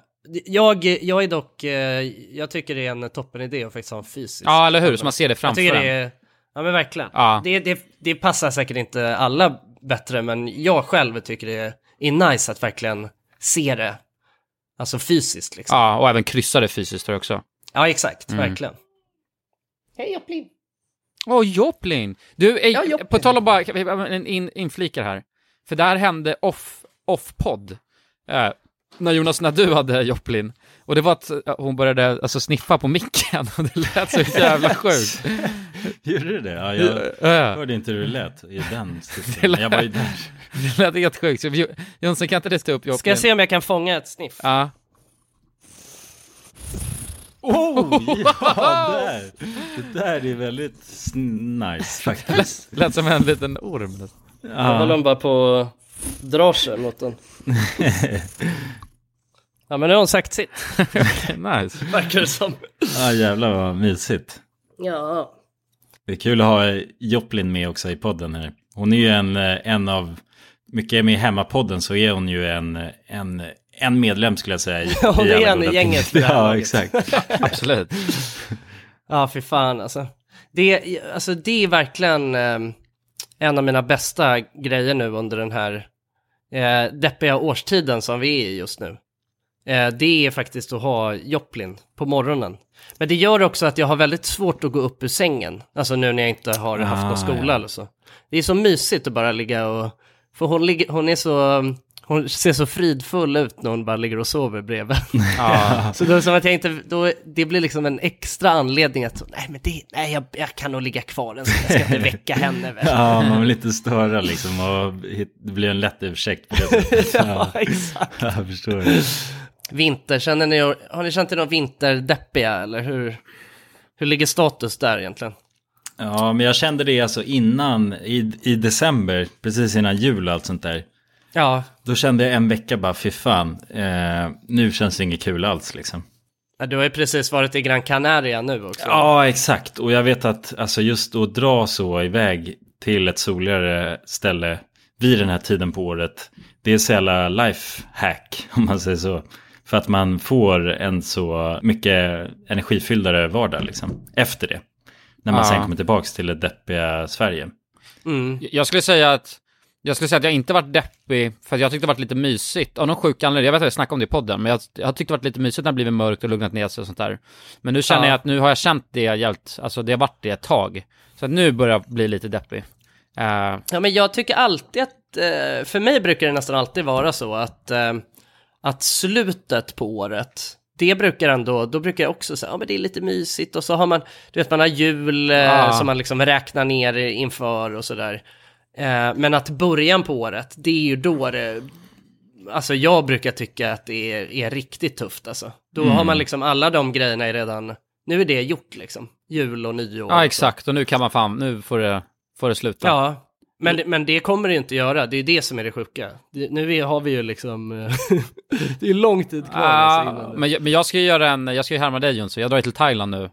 Speaker 2: jag, jag är dock, eh, jag tycker det är en toppen idé att faktiskt ha en fysisk.
Speaker 3: Ja, eller hur? Så man ser det framför
Speaker 2: jag tycker det
Speaker 3: en.
Speaker 2: är, Ja men verkligen.
Speaker 3: Ja.
Speaker 2: Det, det, det passar säkert inte alla bättre, men jag själv tycker det är nice att verkligen se det, alltså fysiskt liksom.
Speaker 3: Ja, och även kryssa det fysiskt tror jag också.
Speaker 2: Ja, exakt,
Speaker 3: Mm.
Speaker 2: verkligen.
Speaker 11: Hej Joplin!
Speaker 3: Åh, Joplin! Du, eh,
Speaker 11: Ja, Joplin.
Speaker 3: på tal om bara, kan vi- en in, inflikar här. För där hände off, off-podd. Eh, när Jonas, när du hade Joplin. Och det var att eh, hon började alltså, sniffa på micken och det lät så jävla sjukt.
Speaker 1: Gjorde du det? Ja, jag
Speaker 3: Ja.
Speaker 1: hörde inte hur det lät i den
Speaker 3: Det
Speaker 1: stilen.
Speaker 3: lät,
Speaker 1: Jag var ju där.
Speaker 3: det lät helt sjukt. Så vi- Jonsson, kan inte du stå upp Joplin?
Speaker 2: Ska jag se om jag kan fånga ett sniff?
Speaker 3: Ja.
Speaker 1: Oh, ja, där. Det där är väldigt sn- nice faktiskt.
Speaker 3: Lät som en liten orm.
Speaker 2: Då håller hon bara på och drar sig mot den. Ja men nu har hon sagt sitt.
Speaker 3: nice.
Speaker 2: Verkar det som.
Speaker 1: Ja, jävlar vad mysigt.
Speaker 2: Ja.
Speaker 1: Det är kul att ha Joplin med också i podden här. Hon är ju en, eh, en av, mycket med i Hemmapodden så är hon ju en, en, en medlem skulle jag säga. I,
Speaker 2: Hon
Speaker 1: i
Speaker 2: är
Speaker 1: alla
Speaker 2: en i
Speaker 1: goda
Speaker 2: gänget
Speaker 1: tider.
Speaker 2: vid det här
Speaker 1: Ja,
Speaker 2: laget.
Speaker 1: exakt.
Speaker 3: Absolut.
Speaker 2: Ja för fan alltså. Det, är- alltså, det är verkligen eh, en av mina bästa grejer nu under den här eh, deppiga årstiden som vi är i just nu. Eh, det är faktiskt att ha Joplin på morgonen. Men det gör också att jag har väldigt svårt att gå upp ur sängen. Alltså nu när jag inte har haft någon
Speaker 1: Ah,
Speaker 2: skola
Speaker 1: ja.
Speaker 2: eller så. alltså. Det är så mysigt att bara ligga och... För hon, ligger, hon är så... um, Hon ser så fridfull ut när hon bara ligger och sover bredvid.
Speaker 3: Ja.
Speaker 2: så då är det som att jag inte... Då, det blir liksom en extra anledning att... Nej, men det, nej jag, jag kan nog ligga kvar en stund. Jag ska inte väcka henne väl.
Speaker 1: Ja, man vill inte störa liksom och hit- det blir en lätt ursäkt på det sättet.
Speaker 2: Ja, exakt.
Speaker 1: Jag förstår det.
Speaker 2: Vinter, känner ni, har ni känt er någon vinterdeppiga eller hur, hur ligger status där egentligen?
Speaker 1: Ja, men jag kände det alltså innan, i, i december, precis innan jul och allt sånt där.
Speaker 2: Ja.
Speaker 1: Då kände jag en vecka bara, fy fan, eh, nu känns det inget kul alls liksom.
Speaker 2: Ja, Du har ju precis varit i Gran Canaria nu också.
Speaker 1: Ja, exakt. Och jag vet att alltså, just att dra så iväg till ett soligare ställe vid den här tiden på året, det är så jävla lifehack, om man säger så. För att man får en så mycket energifylldare vardag liksom, efter det. När man
Speaker 3: Ja.
Speaker 1: sen kommer tillbaka till det deppiga Sverige.
Speaker 3: Jag skulle säga att jag skulle säga att jag inte varit deppig, för att jag tyckte det varit lite mysigt. Av någon sjuk anledning, jag vet att jag snackade om det i podden, men jag, jag tyckte det varit lite mysigt när det blivit mörkt och lugnat ner sig och sånt där. Men nu känner
Speaker 2: Ja.
Speaker 3: jag att nu har jag känt det jävligt, alltså det har varit det ett tag. Så att nu börjar jag bli lite deppig. Eh,
Speaker 2: Ja, men jag tycker alltid att, eh, för mig brukar det nästan alltid vara så att, eh, att slutet på året, det brukar ändå, då brukar jag också säga, ja men det är lite mysigt och så har man, du vet man har jul eh,
Speaker 3: Ja.
Speaker 2: som man liksom räknar ner inför och sådär. Eh, men att början på året, det är ju då det, alltså jag brukar tycka att det är, är riktigt tufft alltså. Då har
Speaker 3: Mm.
Speaker 2: man liksom alla de grejerna är redan, nu är det gjort liksom, jul och nyår. och
Speaker 3: ja,
Speaker 2: så.
Speaker 3: exakt. Och nu kan man fan, nu får det, får det sluta.
Speaker 2: Ja, men, det- men det kommer det ju inte göra. Det är det som är det sjuka. Det, nu är, har vi ju liksom... eh, det är lång tid kvar. alltså,
Speaker 3: Ah,
Speaker 2: innan det-
Speaker 3: men, jag, men jag ska ju göra en, jag ska ju härma dig Jonsson, jag drar ju till Thailand nu.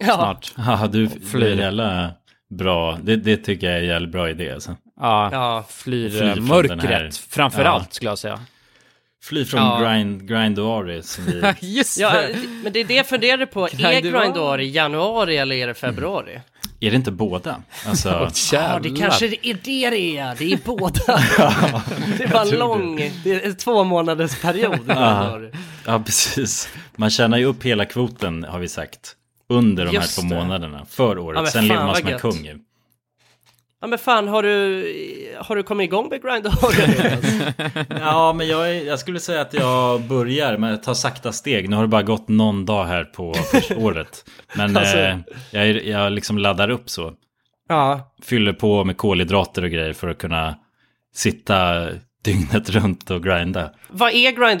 Speaker 2: Ja.
Speaker 3: Snart.
Speaker 1: Ja, du
Speaker 3: Flyr.
Speaker 1: blir jävla bra, det, det tycker jag är en jävligt bra idé alltså.
Speaker 3: Ja, flyr, mörkret framför
Speaker 1: Ja.
Speaker 3: allt skulle jag säga.
Speaker 1: Fly från
Speaker 3: Ja.
Speaker 1: grind, grindoari som vi...
Speaker 3: Just
Speaker 2: ja,
Speaker 3: det.
Speaker 2: Men det är det jag funderar på, är
Speaker 3: Grindoari.
Speaker 2: Grindoari januari eller är det februari?
Speaker 1: Är det inte båda? Alltså...
Speaker 2: Ja, det kanske är det det är, det är båda. det var
Speaker 1: tror
Speaker 2: lång, det är två månaders period.
Speaker 1: Ja, ja, precis. Man tjänar ju upp hela kvoten har vi sagt. Under de
Speaker 2: Just
Speaker 1: här två
Speaker 2: det.
Speaker 1: månaderna för året.
Speaker 2: Ja, men
Speaker 1: Sen
Speaker 2: fan,
Speaker 1: lever man
Speaker 2: vad
Speaker 1: som en
Speaker 2: gött.
Speaker 1: kung ju.
Speaker 2: Ja men fan, har du, har du kommit igång med Grindoari? nu, alltså?
Speaker 1: Ja, men jag, är- jag skulle säga att jag börjar med att ta sakta steg. Nu har det bara gått någon dag här på första året. Men
Speaker 2: Alltså-
Speaker 1: eh, jag, är- jag liksom laddar upp så.
Speaker 2: Ja.
Speaker 1: Fyller på med kolhydrater och grejer för att kunna sitta dygnet runt och grinda.
Speaker 2: Vad är Grindoari?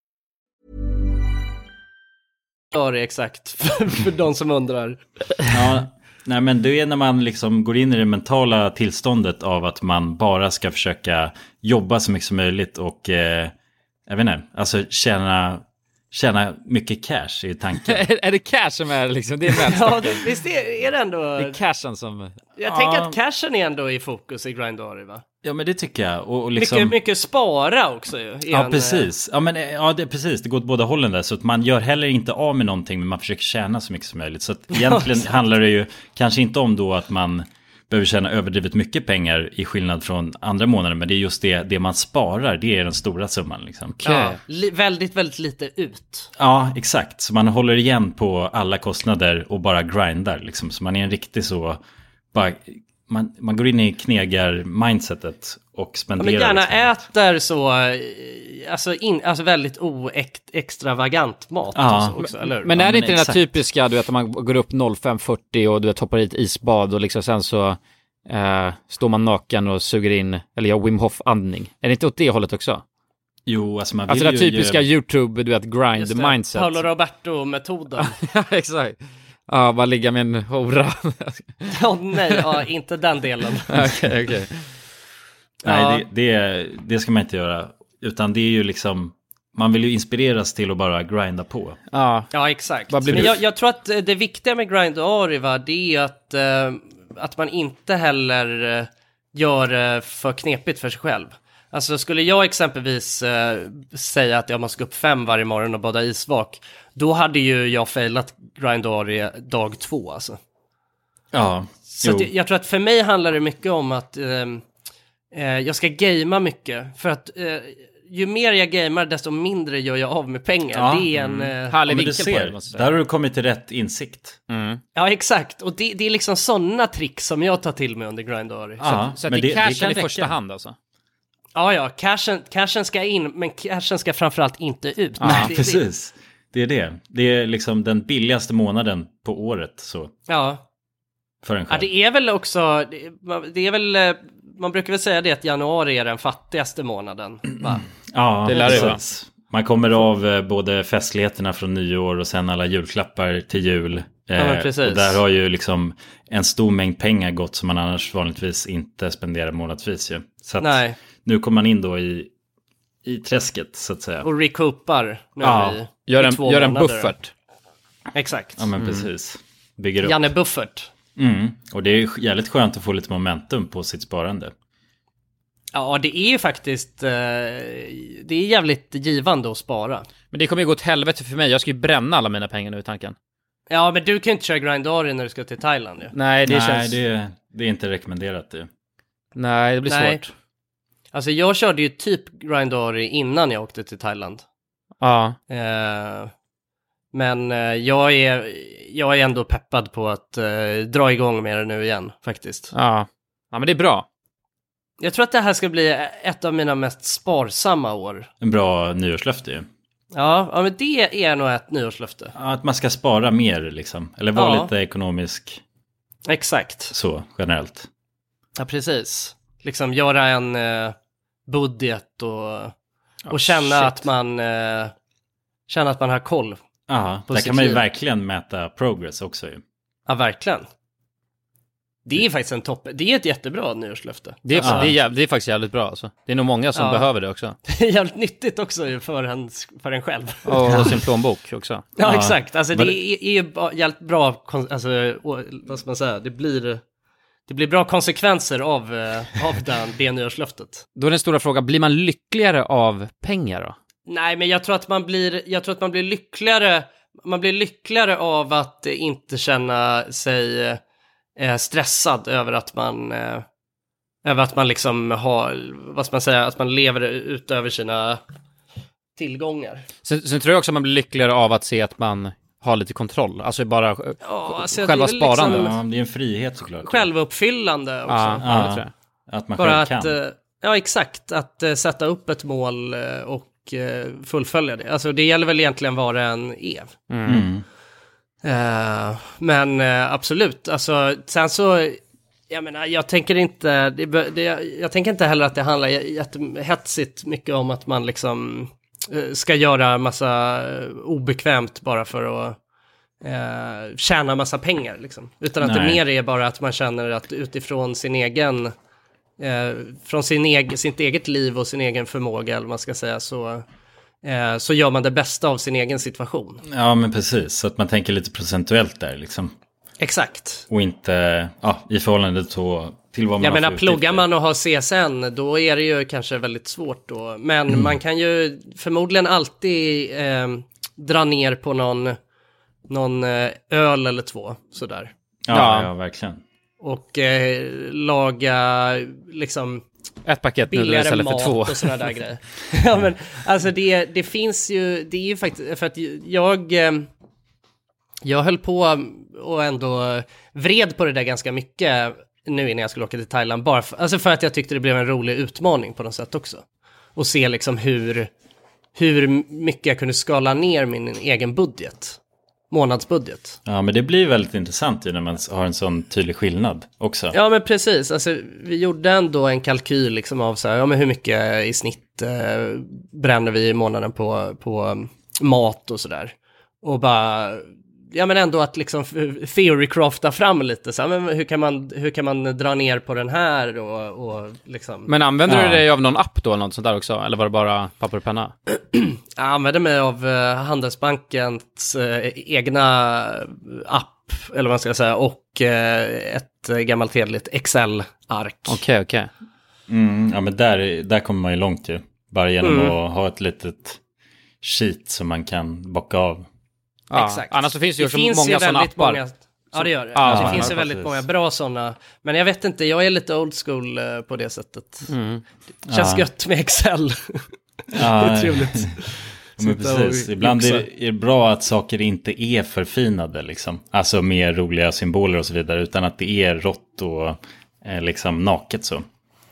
Speaker 2: Grindoari exakt, för, för de som undrar.
Speaker 1: Ja, nej men det är när man liksom går in i det mentala tillståndet av att man bara ska försöka jobba så mycket som möjligt och eh, jag vet inte, alltså tjäna, tjäna mycket cash är ju tanken.
Speaker 3: är, är det cash som är liksom, det är
Speaker 2: Ja,
Speaker 3: mätstocken?
Speaker 2: det- visst är, är det ändå...
Speaker 3: det är cashen som...
Speaker 2: Jag
Speaker 3: Ja.
Speaker 2: tänker att cashen är ändå i fokus i Grindoari va?
Speaker 1: Ja men det tycker jag. Och, och liksom...
Speaker 2: Mycket, mycket spara också ju. i en,
Speaker 1: Ja
Speaker 2: eh,
Speaker 1: precis. Ja, men, eh, ja det, precis, det går åt båda hållen där. Så att man gör heller inte av med någonting men man försöker tjäna så mycket som möjligt. Så att egentligen
Speaker 2: exakt.
Speaker 1: handlar det ju kanske inte om då att man behöver tjäna överdrivet mycket pengar i skillnad från andra månader. Men det är just det, det man sparar, det är den stora summan. Liksom.
Speaker 2: ja, li, väldigt, väldigt lite ut.
Speaker 1: Ja, exakt. Så man håller igen på alla kostnader och bara grindar. Liksom. Så man är en riktig så... Bara, man, man går in i knegar-mindsetet och
Speaker 2: Ja,
Speaker 1: spenderar.
Speaker 2: men gärna
Speaker 1: liksom.
Speaker 2: äter så, eh, alltså, in, alltså väldigt oextravagant mat och så också, eller hur?
Speaker 3: men är det inte den där typiska, du vet, att man går upp 05.40 och du vet, hoppar i ett isbad och liksom sen så eh, står man naken och suger in, eller gör Wim Hof-andning. Är det inte åt det hållet också?
Speaker 1: Jo, alltså man vill
Speaker 3: Alltså det där
Speaker 1: ju...
Speaker 3: typiska YouTube, du vet,
Speaker 2: Just
Speaker 3: grind
Speaker 2: det,
Speaker 3: mindset.
Speaker 2: Paolo Roberto-metoden.
Speaker 3: ja, exakt. Ja, bara ligga med en hora.
Speaker 2: Åh nej, ja, inte den delen.
Speaker 3: Okej, okej.
Speaker 2: Ja.
Speaker 1: Nej, det, det, det ska man inte göra. Utan det är ju liksom... Man vill ju inspireras till att bara grinda på.
Speaker 3: Ja,
Speaker 2: exakt.
Speaker 1: Vad blir
Speaker 2: Men
Speaker 1: du-
Speaker 2: jag, jag tror att eh, det viktiga med Grind Ariva, det är att, eh, att man inte heller eh, gör det för knepigt för sig själv. Alltså skulle jag exempelvis eh, säga att jag måste gå upp fem varje morgon och bada isvak, då hade ju jag failat Grind Ari dag två alltså.
Speaker 1: Ja,
Speaker 2: Så
Speaker 1: jo.
Speaker 2: att jag, jag tror att för mig handlar det mycket om att ehm, eh, jag ska gamea mycket. För att eh, ju mer jag gamear desto mindre gör jag av med pengar. Det är en...
Speaker 1: Mm.
Speaker 2: eh,
Speaker 1: Ja, men du ser, Där har du kommit till rätt insikt.
Speaker 2: Ja, exakt. Och det, det är liksom sådana trick som jag tar till mig under Grindari.
Speaker 1: Ja, Så att- så att men det är det- det cashen kan i räcka. första
Speaker 3: hand alltså?
Speaker 2: Ja, ja, cashen, cashen ska in, men cashen ska framförallt inte ut.
Speaker 1: Ja,
Speaker 2: Det- det-
Speaker 1: precis. Det är det. Det är liksom den billigaste månaden på året så,
Speaker 2: Ja,
Speaker 1: för en
Speaker 2: Ja,
Speaker 1: själv.
Speaker 2: det är väl också, det- man- det är väl, eh, man brukar väl säga det att januari är den fattigaste månaden.
Speaker 1: Mm.
Speaker 2: Va?
Speaker 1: Ja,
Speaker 2: Det lär det vara.
Speaker 1: precis. Man kommer av eh, både festligheterna från nyår och sen alla julklappar till jul.
Speaker 2: Ja, men
Speaker 1: Eh,
Speaker 2: precis.
Speaker 1: Och där har ju liksom en stor mängd pengar gått som man annars vanligtvis inte spenderar månadsvis ju. Så att
Speaker 2: Nej.
Speaker 1: nu kommer man in då i, i träsket så att säga.
Speaker 2: Och recoupar nu
Speaker 1: Ja,
Speaker 2: i,
Speaker 1: gör
Speaker 2: i
Speaker 1: en-
Speaker 2: två
Speaker 1: gör en
Speaker 2: månader.
Speaker 1: buffert.
Speaker 2: Exakt.
Speaker 1: Ja, men precis. Bygger upp.
Speaker 2: Mm. Janne Buffert.
Speaker 1: Mm. Och det är ju jävligt skönt att få lite momentum på sitt sparande.
Speaker 2: Ja, det är ju faktiskt, eh, det är jävligt givande att spara.
Speaker 3: Men det kommer ju gå åt helvete för mig. Jag ska ju bränna alla mina pengar nu i tanken.
Speaker 2: Ja, men du kan ju inte köra Grindari när du ska till Thailand ju.
Speaker 3: Nej, det
Speaker 1: Nej,
Speaker 3: känns-
Speaker 1: det, det är inte rekommenderat det.
Speaker 3: Nej, det blir
Speaker 2: Nej.
Speaker 3: svårt.
Speaker 2: Alltså jag körde ju typ Grindari innan jag åkte till Thailand.
Speaker 3: Ja.
Speaker 2: Eh, men eh, jag, är, jag är ändå peppad på att eh, dra igång med det nu igen faktiskt.
Speaker 3: Ja. Ja, men det är bra.
Speaker 2: Jag tror att det här ska bli ett av mina mest sparsamma år.
Speaker 1: En bra nyårslöfte ju.
Speaker 2: Ja, ja men det är nog ett nyårslöfte.
Speaker 1: Ja, Att man ska spara mer liksom. Eller vara
Speaker 2: Ja.
Speaker 1: lite ekonomisk
Speaker 2: Exakt.
Speaker 1: så generellt.
Speaker 2: Ja, precis. Liksom göra en eh, budget och, och känna
Speaker 1: shit.
Speaker 2: att man eh, känna att man har koll.
Speaker 1: Ja,
Speaker 2: på
Speaker 1: där
Speaker 2: sitt
Speaker 1: kan man ju
Speaker 2: liv.
Speaker 1: verkligen mäta progress också ju.
Speaker 2: Ja, verkligen. Det är faktiskt en topp. Det är ett jättebra nyårslöfte.
Speaker 3: Det är,
Speaker 2: Alltså,
Speaker 3: det, är, jäv- det är faktiskt jävligt bra alltså. Det är nog många som
Speaker 2: Ja.
Speaker 3: behöver det också.
Speaker 2: Det är jävligt nyttigt också ju för en, för en själv.
Speaker 3: Och,
Speaker 2: ja,
Speaker 3: och sin plånbok också.
Speaker 2: exakt. Alltså,
Speaker 3: Men
Speaker 2: det är, är ju ba- jävligt bra, kon- alltså, å- vad ska man säga, det blir, det blir bra konsekvenser av, eh, av den, det nyårslöftet.
Speaker 3: Då är den stora frågan, blir man lyckligare av pengar då?
Speaker 2: Nej, men jag tror att man blir, jag tror att man blir lyckligare, man blir lyckligare av att eh, inte känna sig eh, stressad över att man, eh, över att man liksom har, vad ska man säga, att man lever utöver sina tillgångar.
Speaker 3: Sen, sen tror jag också att man blir lyckligare av att se att man har lite kontroll. Alltså bara eh,
Speaker 2: alltså,
Speaker 3: själva
Speaker 2: det är väl
Speaker 3: sparandet.
Speaker 2: liksom- Ja,
Speaker 1: det är en frihet såklart.
Speaker 2: Självuppfyllande också.
Speaker 3: Ja, ah, ja, det tror
Speaker 1: jag. Att man
Speaker 2: Bara
Speaker 1: själv
Speaker 2: att,
Speaker 1: kan.
Speaker 2: eh, Ja, exakt. Att eh, sätta upp ett mål eh, och eh, fullfölja det. Alltså det gäller väl egentligen vad det än är.
Speaker 1: Mm. Mm.
Speaker 2: Eh, men eh, absolut, alltså sen så, jag menar, jag tänker inte, det, be- det, jag tänker inte heller att det handlar j- jättehetsigt mycket om att man liksom eh, ska göra massa eh, obekvämt bara för att eh, tjäna massa pengar liksom. Utan att det
Speaker 1: Nej.
Speaker 2: mer är bara att man känner att utifrån sin egen, eh, från sin eg, sitt eget liv och sin egen förmåga, eller vad man ska säga, så, eh, så gör man det bästa av sin egen situation.
Speaker 1: Ja, men precis. Så att man tänker lite procentuellt där liksom.
Speaker 2: Exakt.
Speaker 1: Och inte ja, i förhållande till, till vad man
Speaker 2: Jag
Speaker 1: har
Speaker 2: menar,
Speaker 1: för
Speaker 2: pluggar man och har CSN, då är det ju kanske väldigt svårt då. Men
Speaker 1: Mm.
Speaker 2: man kan ju förmodligen alltid eh, dra ner på någon, någon eh, öl eller två, sådär.
Speaker 1: Ja, ja. verkligen.
Speaker 2: Och eh, laga liksom...
Speaker 3: Ett paket nudlar
Speaker 2: billigare
Speaker 3: istället för
Speaker 2: mat
Speaker 3: två.
Speaker 2: och sådana där grejer. ja, men alltså det, det finns ju, det är ju faktiskt, för att jag, eh, jag höll på och ändå vred på det där ganska mycket nu innan jag skulle åka till Thailand, bara för, alltså för att jag tyckte det blev en rolig utmaning på något sätt också. Och se liksom hur, hur mycket jag kunde skala ner min egen budget, månadsbudget.
Speaker 1: Ja, men det blir väldigt intressant ju när man har en sån tydlig skillnad också.
Speaker 2: Ja men precis, alltså, vi gjorde ändå en kalkyl liksom av så här, ja, men hur mycket i snitt eh, bränner vi i månaden på, på um, mat och sådär. Och bara, ja men ändå att liksom f- theorycrafta fram lite, så här, men hur, kan man, hur kan man dra ner på den här och, och liksom.
Speaker 3: Men använder
Speaker 2: Ja.
Speaker 3: du dig av någon app då eller något sånt där också? Eller var det bara papper och penna?
Speaker 2: Jag använde mig av eh, Handelsbankens eh, egna app, eller vad man ska säga, och eh, ett eh, gammalt hederligt Excel-ark.
Speaker 3: Okej, okej.
Speaker 1: Mm, ja, men där, där kommer man ju långt ju. Bara genom
Speaker 2: Mm.
Speaker 1: att ha ett litet sheet som man kan bocka av.
Speaker 3: Ja, annars så finns det ju också många sådana
Speaker 2: väldigt
Speaker 3: appar.
Speaker 2: Många, ja, det gör det.
Speaker 1: Ja, ja,
Speaker 2: det finns ju
Speaker 1: precis.
Speaker 2: väldigt många bra sådana. Men jag vet inte, jag är lite old school eh, på det sättet.
Speaker 1: Mm.
Speaker 2: Det känns
Speaker 1: Ja.
Speaker 2: gött med Excel.
Speaker 1: Ja,
Speaker 2: det är trevligt.
Speaker 1: Ja, men
Speaker 2: Sitta och
Speaker 1: precis. Ibland är
Speaker 2: yxa.
Speaker 1: det, är det bra att saker inte är förfinade, liksom. Alltså med roliga symboler och så vidare, utan att det är rått och eh, liksom naket så.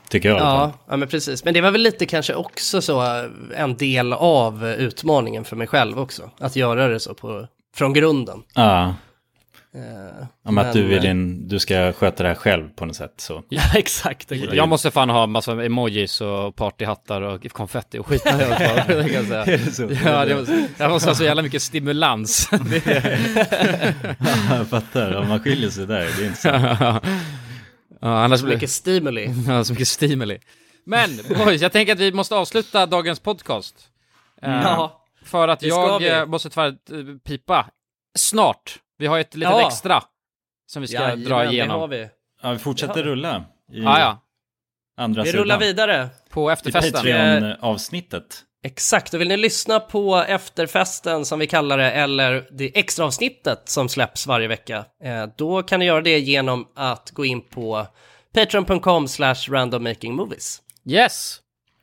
Speaker 1: tycker jag. i alla fall.
Speaker 2: Ja, ja, men precis. Men det var väl lite kanske också så eh, en del av eh, utmaningen för mig själv också. Att göra det så på, från grunden.
Speaker 1: Ja.
Speaker 2: Eh,
Speaker 1: Om att du,
Speaker 2: men,
Speaker 1: vill in, du ska sköta det här själv på något sätt. Så.
Speaker 3: Ja, exakt. Jag måste fan ha en massa emojis och partyhattar och konfetti och skit. när jag var barn, det kan jag säga.
Speaker 1: Är det så?
Speaker 3: Ja, det måste, jag måste ha så jävla mycket stimulans. Det är-
Speaker 1: jag fattar, om man skiljer sig där, det är intressant.
Speaker 3: Ja, annars
Speaker 1: Så
Speaker 3: blir-
Speaker 1: mycket
Speaker 2: stimuli.
Speaker 3: Ja, så mycket stimuli. Men boys, jag tänker att vi måste avsluta dagens podcast. Eh,
Speaker 6: Ja,
Speaker 3: För att
Speaker 6: det ska
Speaker 3: jag
Speaker 6: vi.
Speaker 3: eh, måste tyvärr eh, pipa snart. Vi har ett litet
Speaker 6: Ja.
Speaker 3: extra som vi ska
Speaker 2: Jajamän,
Speaker 3: dra
Speaker 2: det
Speaker 3: igenom.
Speaker 2: har vi.
Speaker 1: Ja, vi fortsätter
Speaker 2: Det har vi.
Speaker 1: rulla. I
Speaker 3: Ja, ja.
Speaker 1: Andra
Speaker 2: Vi
Speaker 1: sidan.
Speaker 2: rullar vidare.
Speaker 3: På Eh,
Speaker 1: I Patreon-avsnittet.
Speaker 2: Exakt, och vill ni lyssna på efterfesten som vi kallar det, eller det extra avsnittet som släpps varje vecka, eh, då kan ni göra det genom att gå in på patreon.com slash randommakingmovies.
Speaker 3: Yes!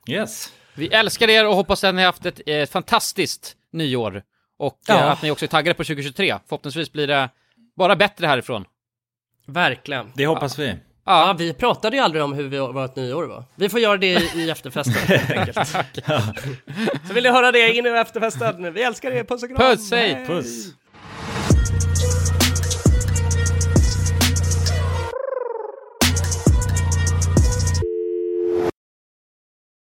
Speaker 1: Yes.
Speaker 3: Vi älskar er och hoppas att ni har haft ett eh, fantastiskt nyår. Och
Speaker 2: Ja.
Speaker 3: eh, att ni också är taggade på 2023. Förhoppningsvis blir det bara bättre härifrån.
Speaker 2: Verkligen.
Speaker 1: Det hoppas vi.
Speaker 2: Ja, vi pratade ju aldrig om hur vi, vårt nyår var. Vi får göra det i, i efterfesten. helt enkelt. Så vill ni höra det in i efterfesten. Vi älskar er, puss och kram.
Speaker 3: Puss, hej!
Speaker 2: Hej.
Speaker 1: Puss.